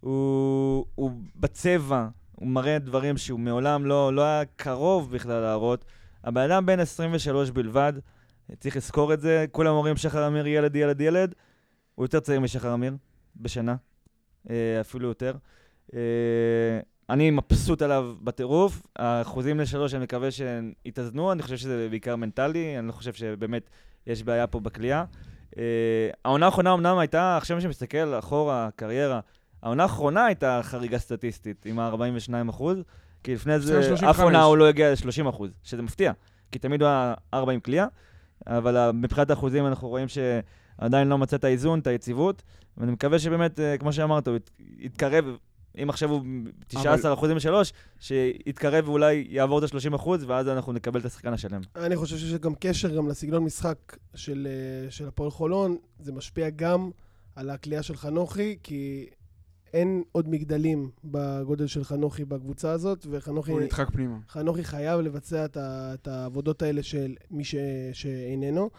Speaker 4: הוא הוא בצבע, הוא מראה דברים שהוא מעולם לא לא היה קרוב בכלל להראות. הבן אדם בן 23 בלבד, צריך לזכור את זה. כולם אומרים שחר אמיר ילד, ילד, ילד. הוא יותר צעיר משחר אמיר, בשנה. אה, אפילו יותר. אה, אני מבסוט עליו בטירוף. האחוזים לשלוש, אני מקווה שהם יתאזנו. אני חושב שזה בעיקר מנטלי, אני לא חושב שבאמת יש בעיה פה בכלייה. אה, העונה האחרונה אמנם הייתה, עכשיו מי שמסתכל אחורה, קריירה, העונה האחרונה הייתה חריגה סטטיסטית, עם ה-42 אחוז, כי לפני זה
Speaker 3: בסדר,
Speaker 4: אף עונה
Speaker 3: 35.
Speaker 4: הוא לא הגיע ל-30 אחוז, שזה מפתיע, כי תמיד הוא היה 40 כליאה, אבל ה- מבחינת האחוזים אנחנו רואים שעדיין לא מצא את האיזון, את היציבות, ואני מקווה שבאמת, אה, כמו שאמרת, הוא ית- יתקרב, אם עכשיו הוא 19 אחוזים משלוש, שיתקרב ואולי יעבור את ה-30 אחוז, ואז אנחנו נקבל את השחקן השלם.
Speaker 5: אני חושב שיש גם קשר גם לסגנון משחק של, אה, של הפועל חולון, זה משפיע גם על הכלייה של חנוכי, כי אין עוד מגדלים בגודל של חנוכי בקבוצה הזאת, וחנוכי
Speaker 3: הוא נדחק פנימה.
Speaker 5: חנוכי חייב לבצע את, ה, את העבודות האלה של מי ש, שאיננו,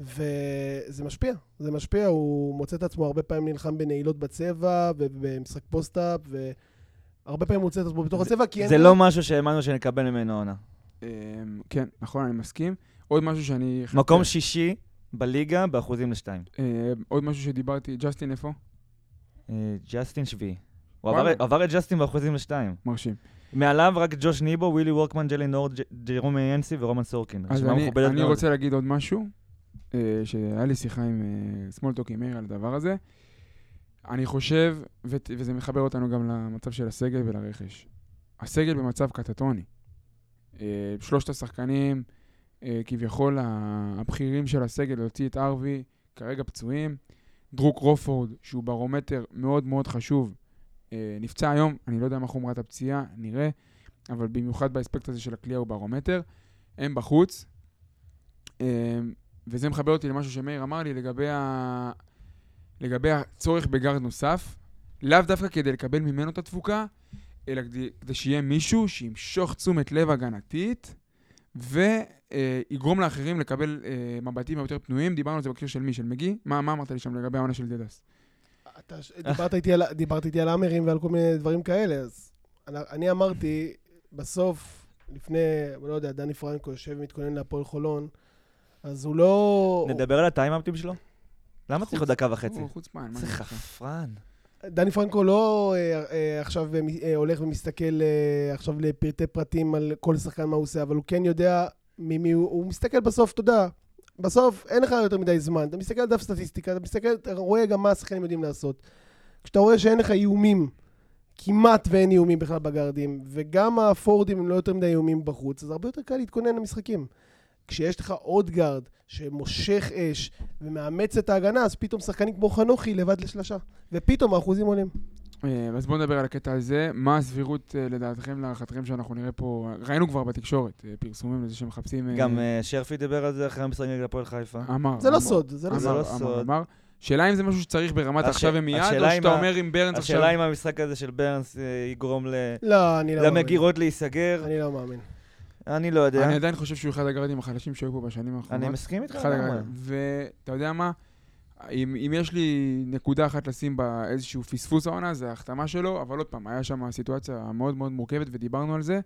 Speaker 5: וזה משפיע, זה משפיע, הוא מוצא את עצמו הרבה פעמים נלחם בנעילות בצבע, ובמשחק פוסט-אפ, והרבה פעמים הוא מוצא את עצמו בתוך הצבע, כי אין...
Speaker 4: זה לא משהו שהאמנו שנקבל ממנו העונה.
Speaker 3: אמ, כן, נכון, אני מסכים. עוד משהו שאני... חייב-
Speaker 4: מקום שישי בליגה באחוזים לשתיים.
Speaker 3: אמ, עוד משהו שדיברתי, ג'סטין איפה?
Speaker 4: אה, ג'סטין שביעי. הוא
Speaker 3: וואלה.
Speaker 4: עבר- עבר את ג'סטין באחוזים לשתיים.
Speaker 3: מרשים.
Speaker 4: מעליו רק ג'וש ניבו, ווילי וורקמן, ג'לי נורד, ג'- ג'רום ינסי ורומן סורקין.
Speaker 3: אז
Speaker 4: רשימה
Speaker 3: אני-
Speaker 4: כן, מכובדת
Speaker 3: אני
Speaker 4: מאוד.
Speaker 3: רוצה להגיד עוד משהו, אה, שהיה לי שיחה עם אה, סמולטוק עם מאיר על הדבר הזה. אני חושב, ות- וזה מחבר אותנו גם למצב של הסגל ולרכש. הסגל במצב קטטוני. אה, שלושת השחקנים, אה, כביכול ה- הבכירים של הסגל, להוציא את ארווי, כרגע פצועים. דרוק רופורד, שהוא ברומטר מאוד מאוד חשוב אה, נפצע היום, אני לא יודע מה חומרת הפציעה, נראה, אבל במיוחד באספקט הזה של הכלייה וברומטר, הם בחוץ. אה, וזה מחבר אותי למשהו שמאיר אמר לי לגבי, ה... לגבי הצורך בגארד נוסף, לאו דווקא כדי לקבל ממנו את התפוקה, אלא כדי, כדי שיהיה מישהו שימשוך תשומת לב הגנתית ויגרום לאחרים לקבל אה, מבטים יותר פנויים. דיברנו על זה בקשר של מי? של מגי? מה, מה אמרת לי שם לגבי העונה של דדס?
Speaker 5: אתה, דיברת, איתי על, דיברת איתי על האמרים ועל כל מיני דברים כאלה, אז אני, אני אמרתי, בסוף, לפני, לא יודע, דני פרנקו יושב ומתכונן להפועל חולון, אז הוא לא...
Speaker 4: נדבר על הטיימאפטים שלו? למה צריך עוד דקה וחצי?
Speaker 3: הוא חוצפן, מה
Speaker 4: איזה
Speaker 3: אני חושב?
Speaker 4: חפרן.
Speaker 5: דני פרנקו לא אה, אה, עכשיו אה, מ- אה, הולך ומסתכל אה, עכשיו לפרטי פרטים על כל שחקן מה הוא עושה, אבל הוא כן יודע ממי הוא, הוא מסתכל בסוף, אתה יודע, בסוף אין לך יותר מדי זמן, אתה מסתכל על דף סטטיסטיקה, אתה מסתכל, אתה רואה גם מה השחקנים יודעים לעשות. כשאתה רואה שאין לך איומים, כמעט ואין איומים בכלל בגארדים, וגם הפורדים הם לא יותר מדי איומים בחוץ, אז הרבה יותר קל להתכונן למשחקים. כשיש לך עוד גארד שמושך אש ומאמץ את ההגנה, אז פתאום שחקנים כמו חנוכי לבד לשלשה, ופתאום האחוזים עולים.
Speaker 3: אה, אז בואו נדבר על הקטע הזה. מה הסבירות אה, לדעתכם, להערכתכם, שאנחנו נראה פה... ראינו כבר בתקשורת אה, פרסומים לזה שמחפשים... אה,
Speaker 4: גם אה, שרפי דיבר על זה אחרי המשחק נגד הפועל חיפה.
Speaker 3: אמר.
Speaker 5: זה לא
Speaker 3: אמר.
Speaker 5: סוד, זה לא
Speaker 3: אמר,
Speaker 5: סוד.
Speaker 4: לא
Speaker 3: אמר,
Speaker 4: סוד.
Speaker 3: אמר. שאלה אם זה משהו שצריך ברמת
Speaker 4: הש-
Speaker 3: עכשיו ומיד,
Speaker 4: השאלה
Speaker 3: או
Speaker 4: אם
Speaker 3: שאתה
Speaker 4: ה-
Speaker 3: אומר עם ברנס עכשיו...
Speaker 4: השאלה אם המשחק הזה של ברנס אה, יגרום ל-
Speaker 5: לא, אני לא מאמין.
Speaker 4: למגירות להיסגר,
Speaker 5: אני לא מאמין.
Speaker 4: אני לא יודע.
Speaker 3: אני עדיין חושב שהוא אחד הגארדים החלשים שהיו פה בשנים האחרונות.
Speaker 4: אני מסכים איתך.
Speaker 3: אחד הגארדים.
Speaker 4: לגמרי.
Speaker 3: ואתה יודע מה? אם, אם יש לי נקודה אחת לשים בה איזשהו פספוס העונה, זה ההחתמה שלו, אבל עוד פעם, היה שם סיטואציה מאוד מאוד מורכבת ודיברנו על זה.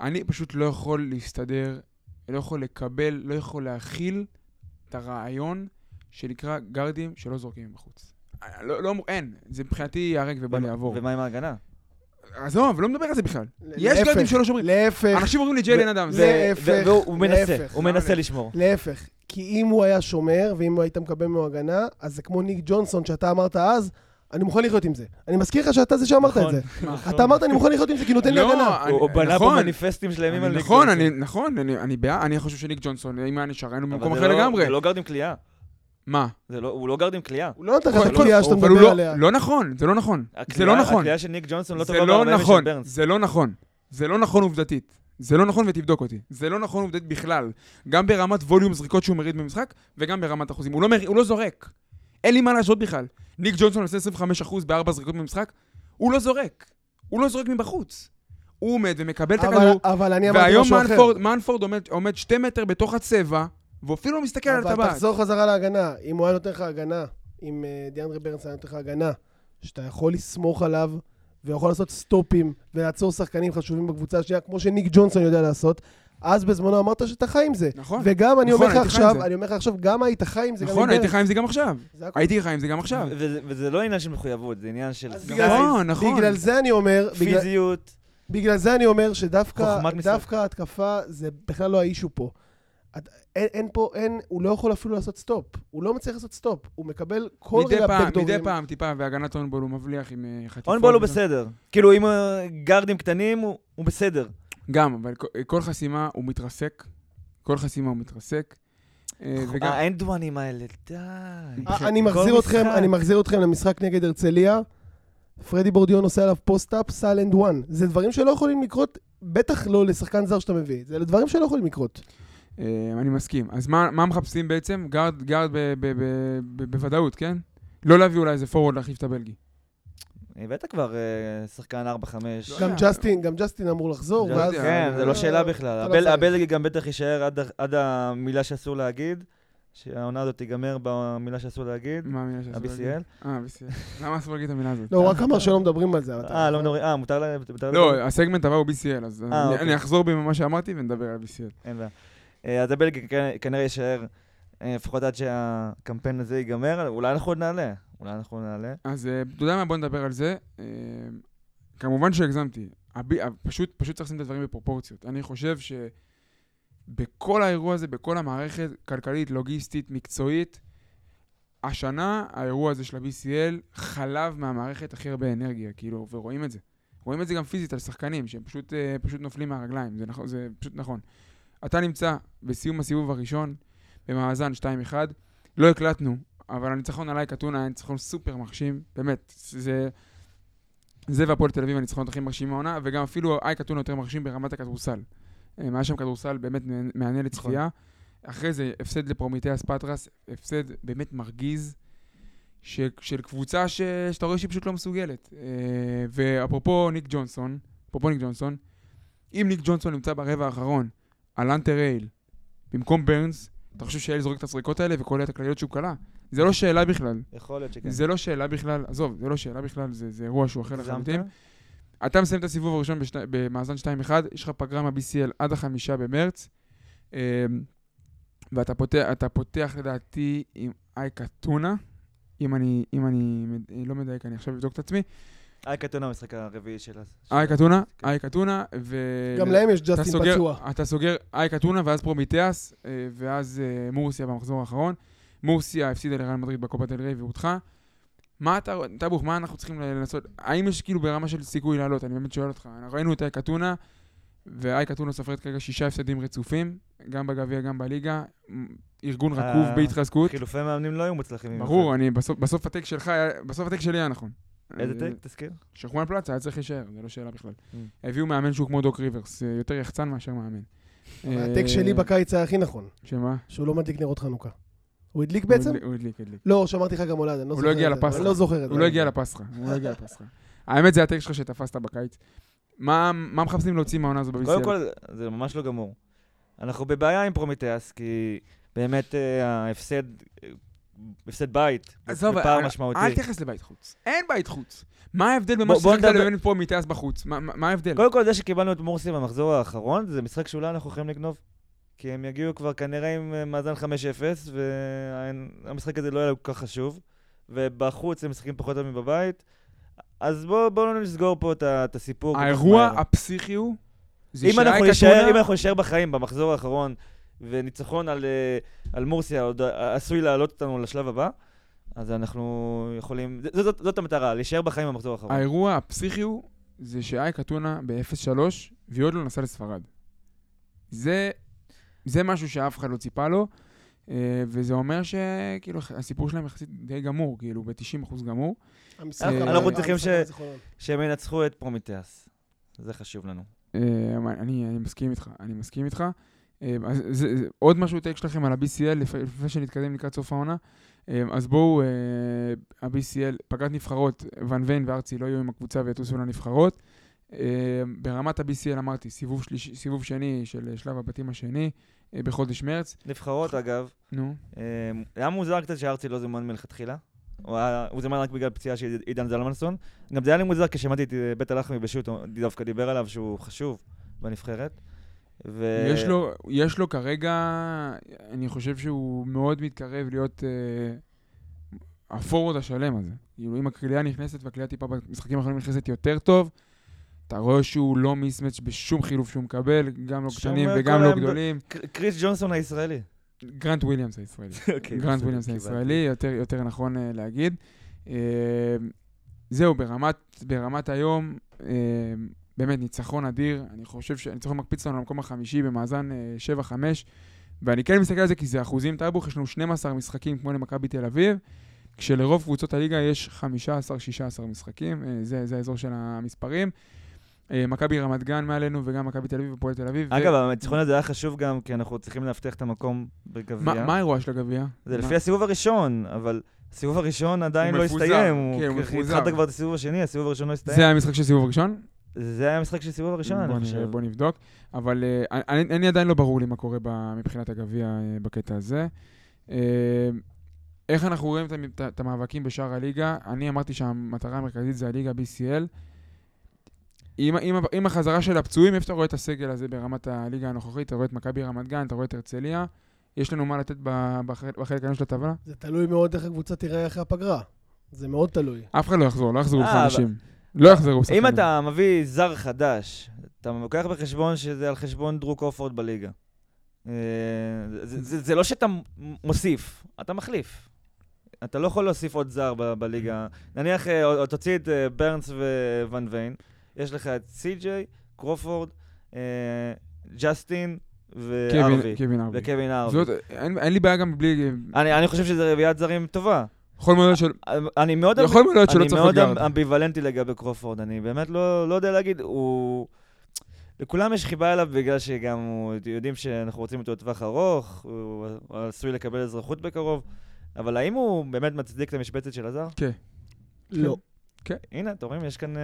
Speaker 3: אני פשוט לא יכול להסתדר, לא יכול לקבל, לא יכול להכיל את הרעיון שנקרא גארדים שלא זורקים בחוץ. לא, לא, אין, זה מבחינתי ייהרג ובא לעבור.
Speaker 4: ומה עם ההגנה?
Speaker 3: עזוב, לא מדבר על זה בכלל. יש
Speaker 5: להפך,
Speaker 3: גארדים שלא שומרים.
Speaker 5: להפך,
Speaker 3: אנשים אומרים לי ג'יילן אדם, זה...
Speaker 5: להפך,
Speaker 4: ו- והוא הוא מנסה,
Speaker 5: להפך.
Speaker 4: הוא
Speaker 3: נכון.
Speaker 4: מנסה לשמור.
Speaker 5: להפך. כי אם הוא היה שומר, ואם הוא היית מקבל ממנו הגנה, אז זה כמו ניק ג'ונסון שאתה אמרת אז, אני מוכן לחיות עם זה. אני מזכיר לך שאתה זה שאמרת את
Speaker 4: נכון.
Speaker 5: זה. אתה אמרת, אני מוכן לחיות עם זה, כי נותן לי
Speaker 3: לא,
Speaker 5: הגנה.
Speaker 3: אני-
Speaker 4: הוא הוא בנה פה
Speaker 3: נכון.
Speaker 4: מניפסטים שלמים על
Speaker 3: אני-
Speaker 4: ניק
Speaker 3: נכון,
Speaker 4: ג'ונסון.
Speaker 3: אני, נכון, אני, אני בעד, אני חושב שניק ג'ונסון, אם היה נשאר, היינו
Speaker 4: אבל
Speaker 3: במקום
Speaker 4: זה
Speaker 3: אחר
Speaker 4: לא-
Speaker 3: לגמרי.
Speaker 4: זה לא גארד עם כליאה.
Speaker 3: מה?
Speaker 4: זה לא- הוא לא גארד עם כליאה.
Speaker 5: הוא לא נתן לך
Speaker 4: נכון,
Speaker 5: את הקליעה שאתה
Speaker 3: אבל הוא
Speaker 5: מדבר
Speaker 3: לא-
Speaker 5: עליה.
Speaker 3: לא נכון, זה לא נכון. זה
Speaker 4: הכלייה-
Speaker 3: לא נכון.
Speaker 4: הכלייה של ניק ג'ונסון לא
Speaker 3: זה
Speaker 4: טובה
Speaker 3: לא
Speaker 4: בהרבה
Speaker 3: נכון,
Speaker 4: משל ברנס.
Speaker 3: זה לא נכון. זה לא נכון עובדתית. זה לא נכון ותבדוק אותי. זה לא נכון עובדתית בכלל. גם ברמת ווליום זריקות שהוא מריד במשחק, וגם ברמת אחוזים. הוא לא, מר... הוא לא זורק. אין לי מה להשוות בכלל. ניק ג'ונסון עושה 25% בארבע זריקות במשחק, הוא לא זורק. הוא לא זורק מבחוץ. הוא עומד ומקבל את
Speaker 5: אבל-
Speaker 3: הכדור,
Speaker 5: אבל אני אמרתי
Speaker 3: והיום
Speaker 5: משהו אחר.
Speaker 3: מנפורד, מנפורד עומד, עומד שתי מטר בתוך הצבע, ואפילו לא מסתכל על
Speaker 5: אבל
Speaker 3: הטבעת.
Speaker 5: תחזור חזרה להגנה. אם הוא היה נותן לך הגנה, אם אה, דיאנדרי ברנס היה נותן לך הגנה, שאתה יכול לסמוך עליו, ויכול לעשות סטופים, ולעצור שחקנים חשובים בקבוצה השנייה, כמו שניק ג'ונסון יודע לעשות, אז בזמנו אמרת שאתה חי עם זה.
Speaker 3: נכון,
Speaker 5: וגם אני
Speaker 3: נכון,
Speaker 5: אומר לך
Speaker 3: הייתי חי עם
Speaker 5: עכשיו,
Speaker 3: זה.
Speaker 5: אני אומר לך עכשיו, גם היית חי עם זה, גם עם
Speaker 3: נכון, הייתי
Speaker 5: ברנס.
Speaker 3: חי עם זה גם עכשיו.
Speaker 5: זה הכל.
Speaker 3: הייתי חי עם זה גם עכשיו.
Speaker 4: ו- וזה- וזה לא עניין של מחויבות, זה עניין של
Speaker 5: אז
Speaker 4: סטייל,
Speaker 5: בגלל-
Speaker 3: נכון, נכון.
Speaker 5: בגלל זה אני אומר, בגלל-
Speaker 4: פיזיות.
Speaker 5: בגלל זה אני אומר שדווקא
Speaker 4: חוכמת משחק.
Speaker 5: דווקא ההתקפה זה בכלל לא האישו פה. את- אין, אין פה, אין, הוא לא יכול אפילו לעשות סטופ. הוא לא מצליח לעשות סטופ. הוא מקבל כל
Speaker 3: מדי
Speaker 5: רגע
Speaker 3: פעם,
Speaker 5: בקדורים.
Speaker 3: מדי פעם טיפה, והגנת אונבול הוא מבליח עם אה, חטיפות.
Speaker 4: אונבול הוא
Speaker 3: וזה.
Speaker 4: בסדר. כאילו, אם אה, גארדים קטנים, הוא הוא בסדר.
Speaker 3: גם, אבל כל- כל חסימה הוא מתרסק. כל חסימה הוא מתרסק. אה,
Speaker 4: נכון.
Speaker 3: וגם...
Speaker 4: האנדואנים האלה, די.
Speaker 5: אה, אני
Speaker 4: כל
Speaker 5: מחזיר אתכם,
Speaker 4: משחק.
Speaker 5: אני מחזיר אתכם למשחק נגד הרצליה. פרדי בורדיון עושה עליו פוסט-אפ, סל אנד וואן. זה דברים שלא יכולים לקרות, בטח לא לשחקן זר שאתה מביא. זה דברים שלא יכולים לקרות.
Speaker 3: אה, אני מסכים. אז מה מה מחפשים בעצם? גארד גארד ב- ב- ב- ב- בוודאות, כן? לא להביא אולי איזה פורוורד להחליף את הבלגי.
Speaker 4: הבאת כבר אה, שחקן 4-5.
Speaker 3: לא
Speaker 5: גם
Speaker 3: יודע.
Speaker 5: ג'סטין, גם ג'סטין אמור לחזור,
Speaker 3: לא
Speaker 5: ואז...
Speaker 3: יודע.
Speaker 4: כן, זה לא שאלה בכלל.
Speaker 5: אתה לא
Speaker 4: הבל-
Speaker 5: צריך.
Speaker 4: הבלגי גם בטח יישאר עד ה- עד המילה שאסור להגיד, שהעונה הזאת תיגמר במילה שאסור להגיד,
Speaker 3: מה המילה שאסור להגיד?
Speaker 4: ה-BCL.
Speaker 3: אה, BCL. למה אסור להגיד את המילה הזאת?
Speaker 5: לא, הוא רק אמר שלא מדברים על זה. אבל אתה-
Speaker 4: אה, לא מדברים, אה, מותר לה... מותר לה-
Speaker 3: לא, הסגמנט הבא הוא BCL, אז אני-
Speaker 4: אוקיי.
Speaker 3: אני אחזור בי ממה שאמרתי ונדבר על BCL.
Speaker 4: אין בעיה. אה, אז הבלגי כנ- כנראה יישאר, אה, לפחות עד שהקמפיין הזה ייגמר, אולי אנחנו עוד נעלה. אולי אנחנו עוד נעלה.
Speaker 3: אז אה, אתה יודע מה? בוא נדבר על זה. אה, כמובן שהגזמתי. הבי- ה- פשוט, פשוט צריך לשים את הדברים בפרופורציות. אני חושב שבכל האירוע הזה, בכל המערכת, כלכלית, לוגיסטית, מקצועית, השנה האירוע הזה של ה-BCL חלב מהמערכת הכי הרבה אנרגיה, כאילו, ורואים את זה. רואים את זה גם פיזית על שחקנים, שהם פשוט, אה, פשוט נופלים מהרגליים, זה, נכון, זה פשוט נכון. אתה נמצא בסיום הסיבוב הראשון, במאזן 2-1, לא הקלטנו, אבל הניצחון עליי קטונה היה ניצחון סופר מרשים, באמת, זה... זה והפועל תל אביב הניצחונות הכי מרשימים העונה, וגם אפילו אייק אתונה יותר מרשים ברמת הכדורסל. אה, היה שם כדורסל באמת מעניין- מעניין לצפייה. אחרי זה הפסד לפרומיטיאס פטרס, הפסד באמת מרגיז ש, של קבוצה ש, שאתה רואה שהיא פשוט לא מסוגלת. אה, ואפרופו ניק ג'ונסון, אפרופו ניק ג'ונסון, אם ניק ג'ונסון נמצא ברבע האחרון על אנטר אייל במקום ברנס, אתה חושב שאייל זורק את הסריקות האלה וקולע את הכלליות שהוא כלה? זה לא שאלה בכלל.
Speaker 4: יכול להיות שכן.
Speaker 3: זה לא שאלה בכלל, עזוב, זה לא שאלה בכלל, זה, זה אירוע שהוא אחר
Speaker 4: הגזמת?
Speaker 3: לחלוטין. אתה מסיים את הסיבוב הראשון בשני, במאזן 2-1, יש לך פגרה מה-BCL עד החמישה במרץ, אמ, ואתה פותח, אתה פותח לדעתי עם אייקה טונה, אם אני, אם אני מד- לא מדייק, אני עכשיו אבדוק את עצמי.
Speaker 4: אייק אתונה במשחק הרביעי שלה.
Speaker 3: אייקה טונה, אייקה טונה, ו...
Speaker 5: גם להם יש
Speaker 3: אתה
Speaker 5: ג'סטין
Speaker 3: סוגר-
Speaker 5: פצוע.
Speaker 3: אתה סוגר אייקה טונה ואז פרומיטיאס, אה, ואז אה, מורסיה במחזור האחרון. מורסיה הפסידה לריאל מדריד בקופה דל ריי והודחה. מה אתה, טבוך, מה אנחנו צריכים ל- לעשות? האם יש כאילו ברמה של סיכוי לעלות? אני באמת שואל אותך. אנחנו ראינו את אייקה טונה, ואייקה טונה סופרת כרגע שישה הפסדים רצופים, גם בגביע, גם בליגה. מ- ארגון רקוב
Speaker 4: אה,
Speaker 3: בהתחזקות.
Speaker 4: חילופי מאמנים לא היו מוצלחים. במיוחד.
Speaker 3: ברור, אני, בסוף- בסוף הטק שלך, היה- בסוף הטק שלי היה נכון.
Speaker 4: איזה
Speaker 3: אה,
Speaker 4: טק? תזכיר.
Speaker 3: שחמן פלצה היה צריך להישאר, זו לא שאלה בכלל.
Speaker 4: Mm.
Speaker 3: הביאו מאמן שהוא כמו דוק ריברס, אה, יותר יחצן מאשר מאמן.
Speaker 5: הטק
Speaker 3: אה,
Speaker 5: שלי בקיץ היה הכי נכון,
Speaker 3: שמה?
Speaker 5: שהוא לא מדליק נרות חנוכה. הוא הדליק בעצם?
Speaker 3: הוא הדליק- הוא הדליק, הדליק.
Speaker 5: לא, שאמרתי לך גם הולד, אני לא
Speaker 3: הוא
Speaker 5: זוכר
Speaker 3: לא
Speaker 5: את זה.
Speaker 3: הגיע לפסחא.
Speaker 5: אני לא זוכר את זה.
Speaker 3: הוא לא הגיע לפסחא, הוא לא הגיע [laughs] לפסחא. האמת זה הטק שלך שתפסת בקיץ. מה מה מחפשים להוציא מהעונה הזו
Speaker 4: קודם
Speaker 3: ב-BCL?
Speaker 4: כל, זה ממש לא גמור. אנחנו בבעיה עם פרומיטיאס, כי באמת אה, ההפסד, אה, הפסד בית,
Speaker 3: עזוב,
Speaker 4: בפער
Speaker 3: אל-
Speaker 4: משמעותי.
Speaker 3: אל תתייחס לבית חוץ. אין בית חוץ. מה ההבדל במה
Speaker 4: בוא- בוא
Speaker 3: ששיחקת
Speaker 4: נדבר-
Speaker 3: לבין פה מטייס בחוץ? מה- מה מה ההבדל?
Speaker 4: קודם כל, זה שקיבלנו את מורסי במחזור האחרון, זה משחק שאולי אנחנו יכולים לגנוב. כי הם יגיעו כבר כנראה עם אה, מאזן 5-0, והמשחק הזה לא היה כל כך חשוב. ובחוץ הם משחקים פחות טוב מבבית. אז בואו בוא לא נסגור פה את, ה- את הסיפור. כל כך
Speaker 3: האירוע
Speaker 4: מהר.
Speaker 3: הפסיכי הוא, זה
Speaker 4: אם אנחנו,
Speaker 3: שאייק
Speaker 4: נשאר,
Speaker 3: אתונה-
Speaker 4: אם אנחנו נשאר בחיים במחזור האחרון, וניצחון על, אה, על מורסיה עוד ע- עשוי להעלות אותנו לשלב הבא, אז אנחנו יכולים... ז- זאת, זאת המטרה, להישאר בחיים במחזור האחרון.
Speaker 3: האירוע הפסיכי הוא, זה שאייק אתונה ב-0-3, והיא עוד לא נסעה לספרד. זה, זה משהו שאף אחד לא ציפה לו, אה, וזה אומר שכאילו הסיפור שלהם יחסית די גמור, כאילו ב-90% גמור.
Speaker 5: המשחק
Speaker 3: אה,
Speaker 5: הבא-
Speaker 3: אנחנו
Speaker 4: צריכים
Speaker 5: המשחק
Speaker 4: ש-
Speaker 5: הזה חולון.
Speaker 4: שהם ינצחו את פרומיטיאס. זה חשוב לנו.
Speaker 3: אה, אבל אני, אני מסכים איתך, אני מסכים איתך. אה, אז זה, זה, עוד משהו טק שלכם על ה-BCL לפ- לפני שנתקדם לקראת סוף העונה. אה, אז בואו, אה, ה-BCL, פגרת נבחרות, ון ויין וארצי לא יהיו עם הקבוצה ויטוסו לנבחרות. אה, ברמת ה-BCL אמרתי, סיבוב, שליש, סיבוב שני של אה, שלב הבתים השני אה, בחודש מרץ.
Speaker 4: נבחרות, אגב,
Speaker 3: נו,
Speaker 4: אה, היה מוזר קצת שארצי לא זומן מלכתחילה. הוא היה- הוא זומן רק בגלל פציעה של עידן זלמנסון. גם זה היה לי מוזר כששמעתי את אה, בית הלחמי בשו"ת, הוא דווקא דיבר עליו שהוא חשוב בנבחרת. ו...
Speaker 3: יש לו, יש לו כרגע, אני חושב שהוא מאוד מתקרב להיות אה, הפורוד השלם הזה. כאילו, אם הקליעה נכנסת והקליעה טיפה במשחקים האחרונים נכנסת יותר טוב, אתה רואה שהוא לא מיסמץ' בשום חילוף שהוא מקבל, גם לא
Speaker 4: שום,
Speaker 3: קטנים
Speaker 4: אה,
Speaker 3: וגם
Speaker 4: כל
Speaker 3: לא
Speaker 4: העמדות.
Speaker 3: גדולים.
Speaker 4: קר- קריס ג'ונסון הישראלי.
Speaker 3: גרנט וויליאמס הישראלי.
Speaker 4: אוקיי,
Speaker 3: גרנט
Speaker 4: בסדר,
Speaker 3: וויליאמס
Speaker 4: קיבלתי.
Speaker 3: הישראלי, יותר, יותר נכון אה, להגיד. אה, זהו, ברמת, ברמת היום, אה, באמת ניצחון אדיר. אני חושב שהניצחון מקפיץ אותנו למקום החמישי במאזן אה, 7-5, ואני כן מסתכל על זה כי זה אחוזים טאבוך, יש לנו 12 משחקים כמו למכבי תל אביב, כשלרוב קבוצות הליגה יש 15-16 משחקים, אה, זה, זה האזור של המספרים. אה, מכבי רמת גן מעלינו וגם מכבי תל אביב ופועל תל אביב.
Speaker 4: אגב, הניצחון הזה היה חשוב גם, כי אנחנו צריכים לאבטח את המקום בגביע.
Speaker 3: מה מה האירוע של הגביע? מה-
Speaker 4: זה לפי הסיבוב הראשון, אבל הסיבוב הראשון עדיין
Speaker 3: הוא
Speaker 4: לא
Speaker 3: מפוזר.
Speaker 4: הסתיים.
Speaker 3: כן, הוא
Speaker 4: הוא-
Speaker 3: מפוזר.
Speaker 4: התחלת כבר את הסיבוב השני, הסיבוב הראשון לא
Speaker 3: זה
Speaker 4: הסתיים.
Speaker 3: היה המשחק של סיבוב ראשון?
Speaker 4: זה היה המשחק של סיבוב הראשון,
Speaker 3: בוא
Speaker 4: אני
Speaker 3: נראה,
Speaker 4: חושב.
Speaker 3: בוא נבדוק. אבל אה, אני- אני עדיין לא ברור לי מה קורה ב- מבחינת הגביע אה, בקטע הזה. אה, איך אנחנו רואים את המ- את ה- את המאבקים בשאר הליגה? אני אמרתי שהמטרה המרכזית זה הליגה BCL. עם, ה- עם, ה- עם החזרה של הפצועים, איפה אתה רואה את הסגל הזה ברמת הליגה הנוכחית? אתה רואה את מכבי רמת גן, אתה רואה את הרצליה. יש לנו מה לתת ב- בחלק בחלק העליון של הטבלה?
Speaker 5: זה תלוי מאוד איך הקבוצה תיראה אחרי הפגרה. זה מאוד תלוי.
Speaker 3: אף אחד לא יחזור, לא יחזרו
Speaker 4: אה, אבל-
Speaker 3: חמישים. לא יחזרו שחקנים.
Speaker 4: אם אתה מביא זר חדש, אתה לוקח בחשבון שזה על חשבון דרו קופורד בליגה. אה, זה- זה זה לא שאתה מ- מוסיף, אתה מחליף. אתה לא יכול להוסיף עוד זר ב- בליגה. נניח, אה, או- או תוציא את אה, ברנס וואן ויין, יש לך את סי.ג'יי, קרופורד, אה, ג'סטין
Speaker 3: קווין-
Speaker 4: וארווי.
Speaker 3: קווין ארווי.
Speaker 4: וקווין ארווי.
Speaker 3: זאת- אין אין לי בעיה גם בלי...
Speaker 4: אני אני חושב שזו רביעיית זרים טובה. אה,
Speaker 3: יכול מאוד להיות של...
Speaker 4: אני מאוד...
Speaker 3: יכול מאוד אמ- להיות שלא צריך להיות
Speaker 4: אני מאוד
Speaker 3: גארד.
Speaker 4: אמב- אמביוולנטי לגבי קרופורד, אני באמת לא, לא יודע להגיד, הוא... לכולם יש חיבה אליו בגלל שגם הוא, יודעים שאנחנו רוצים אותו לטווח ארוך, הוא, הוא עשוי לקבל אזרחות בקרוב, אבל האם הוא באמת מצדיק את המשבצת של הזר?
Speaker 5: לא.
Speaker 4: הנה, אתם רואים, יש כאן... אה,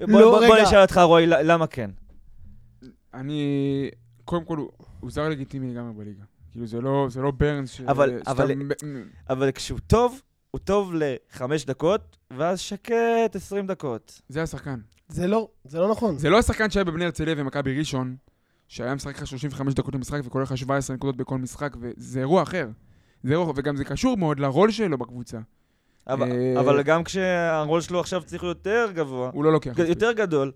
Speaker 5: לא,
Speaker 4: בוא, בוא, בוא
Speaker 5: רגע.
Speaker 4: נשאל אותך, רועי, ל- למה כן?
Speaker 3: אני... קודם כל, הוא- הוא זר לגיטימי לגמרי בליגה. כאילו, זה לא, זה לא ברנס ש...
Speaker 4: אבל-
Speaker 3: שאתה
Speaker 4: אבל-
Speaker 3: מ-
Speaker 4: אבל כשהוא טוב, הוא טוב לחמש דקות, ואז שקט 20 דקות.
Speaker 3: זה השחקן.
Speaker 5: זה לא, זה לא נכון.
Speaker 3: זה לא השחקן שהיה בבני הרצליה ומכבי ראשון, שהיה משחק לך 35 דקות למשחק וכולל לך 17 נקודות בכל משחק, וזה אירוע אחר. זה אירוע, וגם זה קשור מאוד לרול שלו בקבוצה.
Speaker 4: אבל,
Speaker 3: אה.
Speaker 4: אבל גם כשהרול שלו עכשיו צריך להיות יותר גבוה,
Speaker 3: הוא לא לוקח. את זה.
Speaker 4: יותר גדול,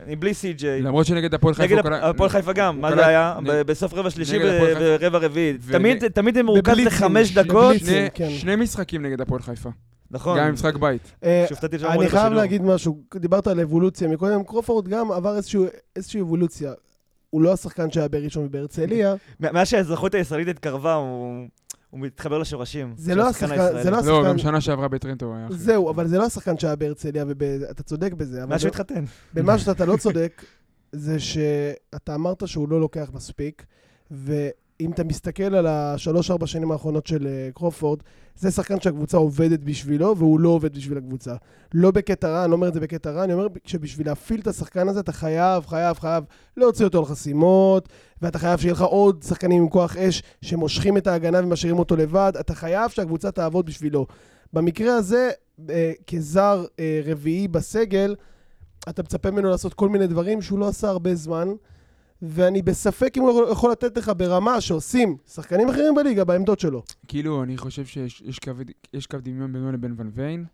Speaker 4: אני בלי סי.ג'יי,
Speaker 3: למרות שנגד הפועל חיפה...
Speaker 4: נגד
Speaker 3: הוא
Speaker 4: הפ-
Speaker 3: קלע-
Speaker 4: הפועל חיפה גם, מה
Speaker 3: הוא
Speaker 4: זה
Speaker 3: קלע-
Speaker 4: היה?
Speaker 3: נ-
Speaker 4: ב- בסוף רבע שלישי
Speaker 3: נגד הפועל חיפה.
Speaker 4: ורבע רביעי.
Speaker 3: ו-
Speaker 4: תמיד- תמיד זה מורכב
Speaker 5: בבליצים,
Speaker 4: לחמש
Speaker 5: שני
Speaker 4: דקות,
Speaker 5: בליצים.
Speaker 3: שני-
Speaker 5: כן.
Speaker 3: שני משחקים נגד הפועל חיפה.
Speaker 4: נכון.
Speaker 3: גם משחק בית.
Speaker 5: אה,
Speaker 4: שהופתעתי שלא אמרו לי
Speaker 5: אני חייב
Speaker 4: בשידור.
Speaker 5: להגיד משהו, דיברת על אבולוציה מקודם, קרופורד גם עבר איזשהו- איזושהי אבולוציה. הוא לא השחקן שהיה בראשון ובהרצליה,
Speaker 4: מ- מאז שהאזרחות הישראלית התקרבה, הוא הוא מתחבר לשורשים.
Speaker 5: זה
Speaker 4: של
Speaker 5: לא
Speaker 4: השחקן
Speaker 5: השחקן-
Speaker 4: הישראלי.
Speaker 5: זה לא השחקן-
Speaker 3: לא, גם שנה שעברה בטרנטו הוא היה אחר.
Speaker 5: זהו, אבל זה לא השחקן שהיה בהרצליה, ואתה צודק בזה, אבל לא-
Speaker 4: מאז שהוא התחתן.
Speaker 5: במה שאתה לא צודק, זה שאתה אמרת שהוא לא לוקח מספיק, ואם אתה מסתכל על השלוש-ארבע שנים האחרונות של אה, קרופורד, זה שחקן שהקבוצה עובדת בשבילו, והוא לא עובד בשביל הקבוצה. לא בקטע רע, אני לא אומר את זה בקטע רע, אני אומר שבשביל להפעיל את השחקן הזה, אתה חייב, חייב, חייב להוציא אותו על חסימות, ואתה חייב שיהיה לך עוד שחקנים עם כוח אש שמושכים את ההגנה ומשאירים אותו לבד, אתה חייב שהקבוצה תעבוד בשבילו. במקרה הזה, אה, כזר אה, רביעי בסגל, אתה מצפה ממנו לעשות כל מיני דברים שהוא לא עשה הרבה זמן, ואני בספק אם הוא יכול- יכול לתת לך ברמה שעושים שחקנים אחרים בליגה בעמדות שלו.
Speaker 3: כאילו, אני חושב שיש יש קו, יש קו דמיון בינו לבין ון ויין,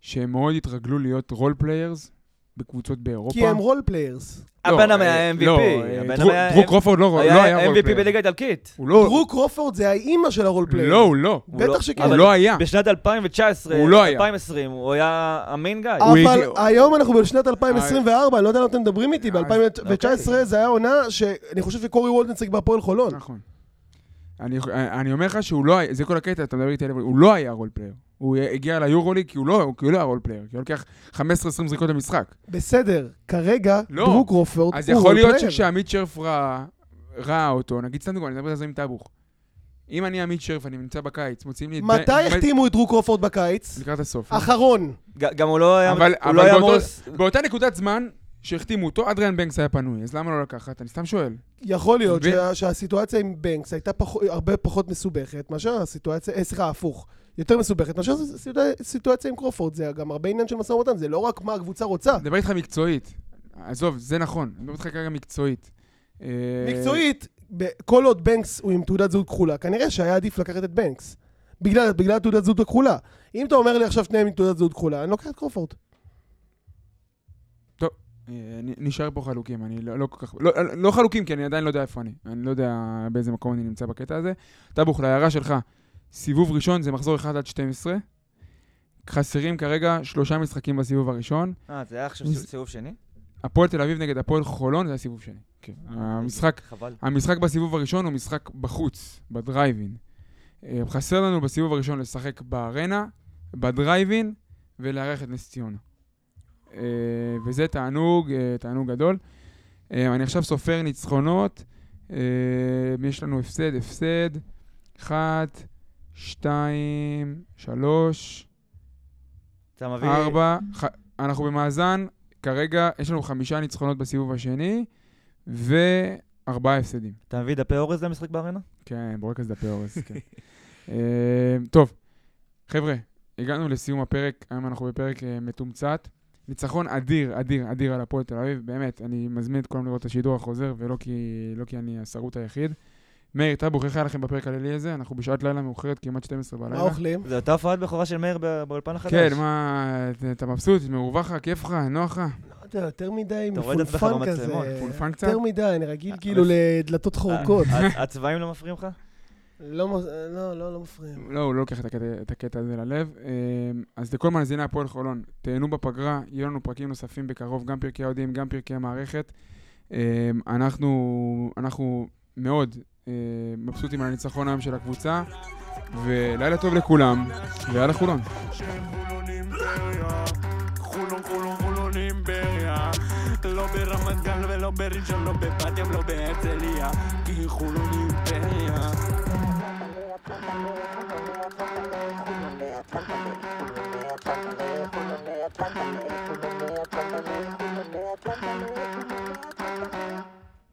Speaker 3: שהם מאוד התרגלו להיות רול פליירס בקבוצות באירופה.
Speaker 5: כי הם רול פליירס.
Speaker 3: לא,
Speaker 4: הבן אדם
Speaker 3: אה,
Speaker 4: היה MVP.
Speaker 3: לא, אה,
Speaker 4: הבן אדם
Speaker 3: דרו-
Speaker 4: היה-
Speaker 3: דרוק קרופורד לא רול- לא היה
Speaker 4: היה
Speaker 3: רול
Speaker 4: MVP
Speaker 3: פלייר.
Speaker 4: בליגה האיטלקית.
Speaker 3: הוא לא...
Speaker 5: דרוק קרופורד זה האימא של הרול פליירס.
Speaker 3: לא, הוא לא.
Speaker 4: הוא לא-
Speaker 5: בטח שכן.
Speaker 3: הוא
Speaker 4: אבל-
Speaker 3: לא היה.
Speaker 4: בשנת 2019,
Speaker 3: הוא לא היה.
Speaker 4: 2020, הוא היה המיין גאי.
Speaker 3: הוא
Speaker 5: אבל
Speaker 3: הגיע- אה,
Speaker 5: היום אנחנו בשנת 2024, אני לא יודע למה אתם מדברים איתי,
Speaker 3: אז- אוקיי.
Speaker 5: ב-2019 זה היה עונה שאני חושב שקורי וולדנצג בהפועל חולון.
Speaker 3: נכון. אני, אני אומר לך שהוא לא היה, זה כל הקטע, אתה מדבר איתי עליו, הוא לא היה רול פלייר. הוא הגיע ליורוליג כי הוא לא, כי הוא לא היה רול פלייר, כי הוא לוקח 15-20 זריקות למשחק.
Speaker 5: בסדר, כרגע
Speaker 3: לא.
Speaker 5: דרוק קרופורד
Speaker 3: אז
Speaker 5: הוא לא
Speaker 3: יכול
Speaker 5: רול
Speaker 3: להיות
Speaker 5: פלייר.
Speaker 3: שכשעמית שרף ראה, ראה אותו, נגיד סתם דוגמא, אני מדבר על זה עם טאבוך. אם אני עמית שרף, אני נמצא בקיץ, מוציאים לי את... בן-
Speaker 5: מתי
Speaker 3: בן-
Speaker 5: החתימו את דרוק קרופורד בקיץ?
Speaker 3: לקראת הסוף.
Speaker 5: אחרון.
Speaker 4: ג- גם הוא לא היה...
Speaker 3: אבל-
Speaker 4: הוא לא
Speaker 3: אבל
Speaker 4: היה
Speaker 3: באותו-
Speaker 4: מורס...
Speaker 3: באותה נקודת זמן שהחתימו אותו, אדריאן בנקס היה פנוי, אז למה לא לקחת? אני סתם שואל.
Speaker 5: יכול להיות
Speaker 3: מבין?
Speaker 5: שה- שהסיטואציה עם בנקס הייתה פח- הרבה פחות מסובכת מאשר הסיטואציה, אה, סליחה, הפוך, יותר מסובכת מאשר הסיטואציה- הסיטואציה עם קרופורד, זה גם הרבה עניין של משא ומתן, זה לא רק מה הקבוצה רוצה.
Speaker 3: אני מדבר איתך מקצועית. עזוב, זה נכון, אני מדבר איתך כרגע מקצועית. אה,
Speaker 5: מקצועית, ב- כל עוד בנקס הוא עם תעודת זהות כחולה, כנראה שהיה עדיף לקחת את בנקס. בגלל, בגלל תעודת זהות הכחולה. אם אתה אומר לי עכשיו שניהם עם תעודת זהות כחולה, אני לוקח את קרופורד.
Speaker 3: אה, נ- נשאר פה חלוקים, אני לא, לא כל כך... לא, לא חלוקים, כי אני עדיין לא יודע איפה אני. אני לא יודע באיזה מקום אני נמצא בקטע הזה. טאבוך, להערה שלך, סיבוב ראשון זה מחזור 1 עד 12. חסרים כרגע שלושה משחקים בסיבוב הראשון.
Speaker 4: אה, זה היה עכשיו
Speaker 3: הוא-
Speaker 4: סיבוב שני?
Speaker 3: הפועל תל אביב נגד הפועל חולון זה הסיבוב שני. כן. המשחק,
Speaker 4: חבל.
Speaker 3: המשחק בסיבוב הראשון הוא משחק בחוץ, בדרייבין. חסר לנו בסיבוב הראשון לשחק בארנה, בדרייבין, ולארח את נס ציונה. אה, וזה תענוג, אה, תענוג גדול. אה, אני עכשיו סופר ניצחונות. אה, יש לנו הפסד, הפסד. אחת, שתיים, שלוש,
Speaker 4: אתה מביא...
Speaker 3: ארבע, ח... אנחנו במאזן, כרגע יש לנו חמישה ניצחונות בסיבוב השני, וארבעה הפסדים.
Speaker 4: אתה מביא דפי אורז למשחק בארנה?
Speaker 3: כן, בורקס דפי אורז, כן. אה, טוב, חבר'ה, הגענו לסיום הפרק, היום אנחנו בפרק אה, מתומצת. ניצחון אדיר, אדיר, אדיר על הפועל תל אביב, באמת, אני מזמין את כולם לראות את השידור החוזר, ולא כי, לא כי אני השרוט היחיד. מאיר טאבוך, איך היה לכם בפרק הלילי הזה? אנחנו בשעת לילה מאוחרת, כמעט 12
Speaker 5: מה
Speaker 3: בלילה.
Speaker 5: אוכלים?
Speaker 4: זו אותה הופעת בכורה של מאיר ב- באולפן החדש.
Speaker 3: כן, מה, אתה מבסוט? מרווח לך? כיף לך? נוח לך?
Speaker 5: לא יודע, יותר מדי
Speaker 4: אתה רואה את עצמך
Speaker 5: מפונפן כזה.
Speaker 4: במצלמות, אה,
Speaker 3: פולפן קצת?
Speaker 5: יותר מדי, אני רגיל כאילו לדלתות חורגות.
Speaker 4: ה- ה- הצבעים לא מפריעים לך?
Speaker 5: לא, מ- לא, לא, לא מפריעים.
Speaker 3: לא, הוא לא לוקח את הקטע, את הקטע הזה ללב. אמ, אז לכל מאזיני הפועל חולון, תהנו בפגרה, יהיו לנו פרקים נוספים בקרוב, גם פרקי אוהדים, גם פרקי המערכת. אמ, אמ, אנחנו, אנחנו מאוד אה, מבסוטים על הניצחון היום של הקבוצה. ולילה טוב לכולם, ויאללה חולון.
Speaker 6: שהם חולון אימפריה. חולון חולון חולון אימפריה. לא ברמת גן ולא בראשון, לא בבת ים, לא בהרצליה. כי חולון אימפריה.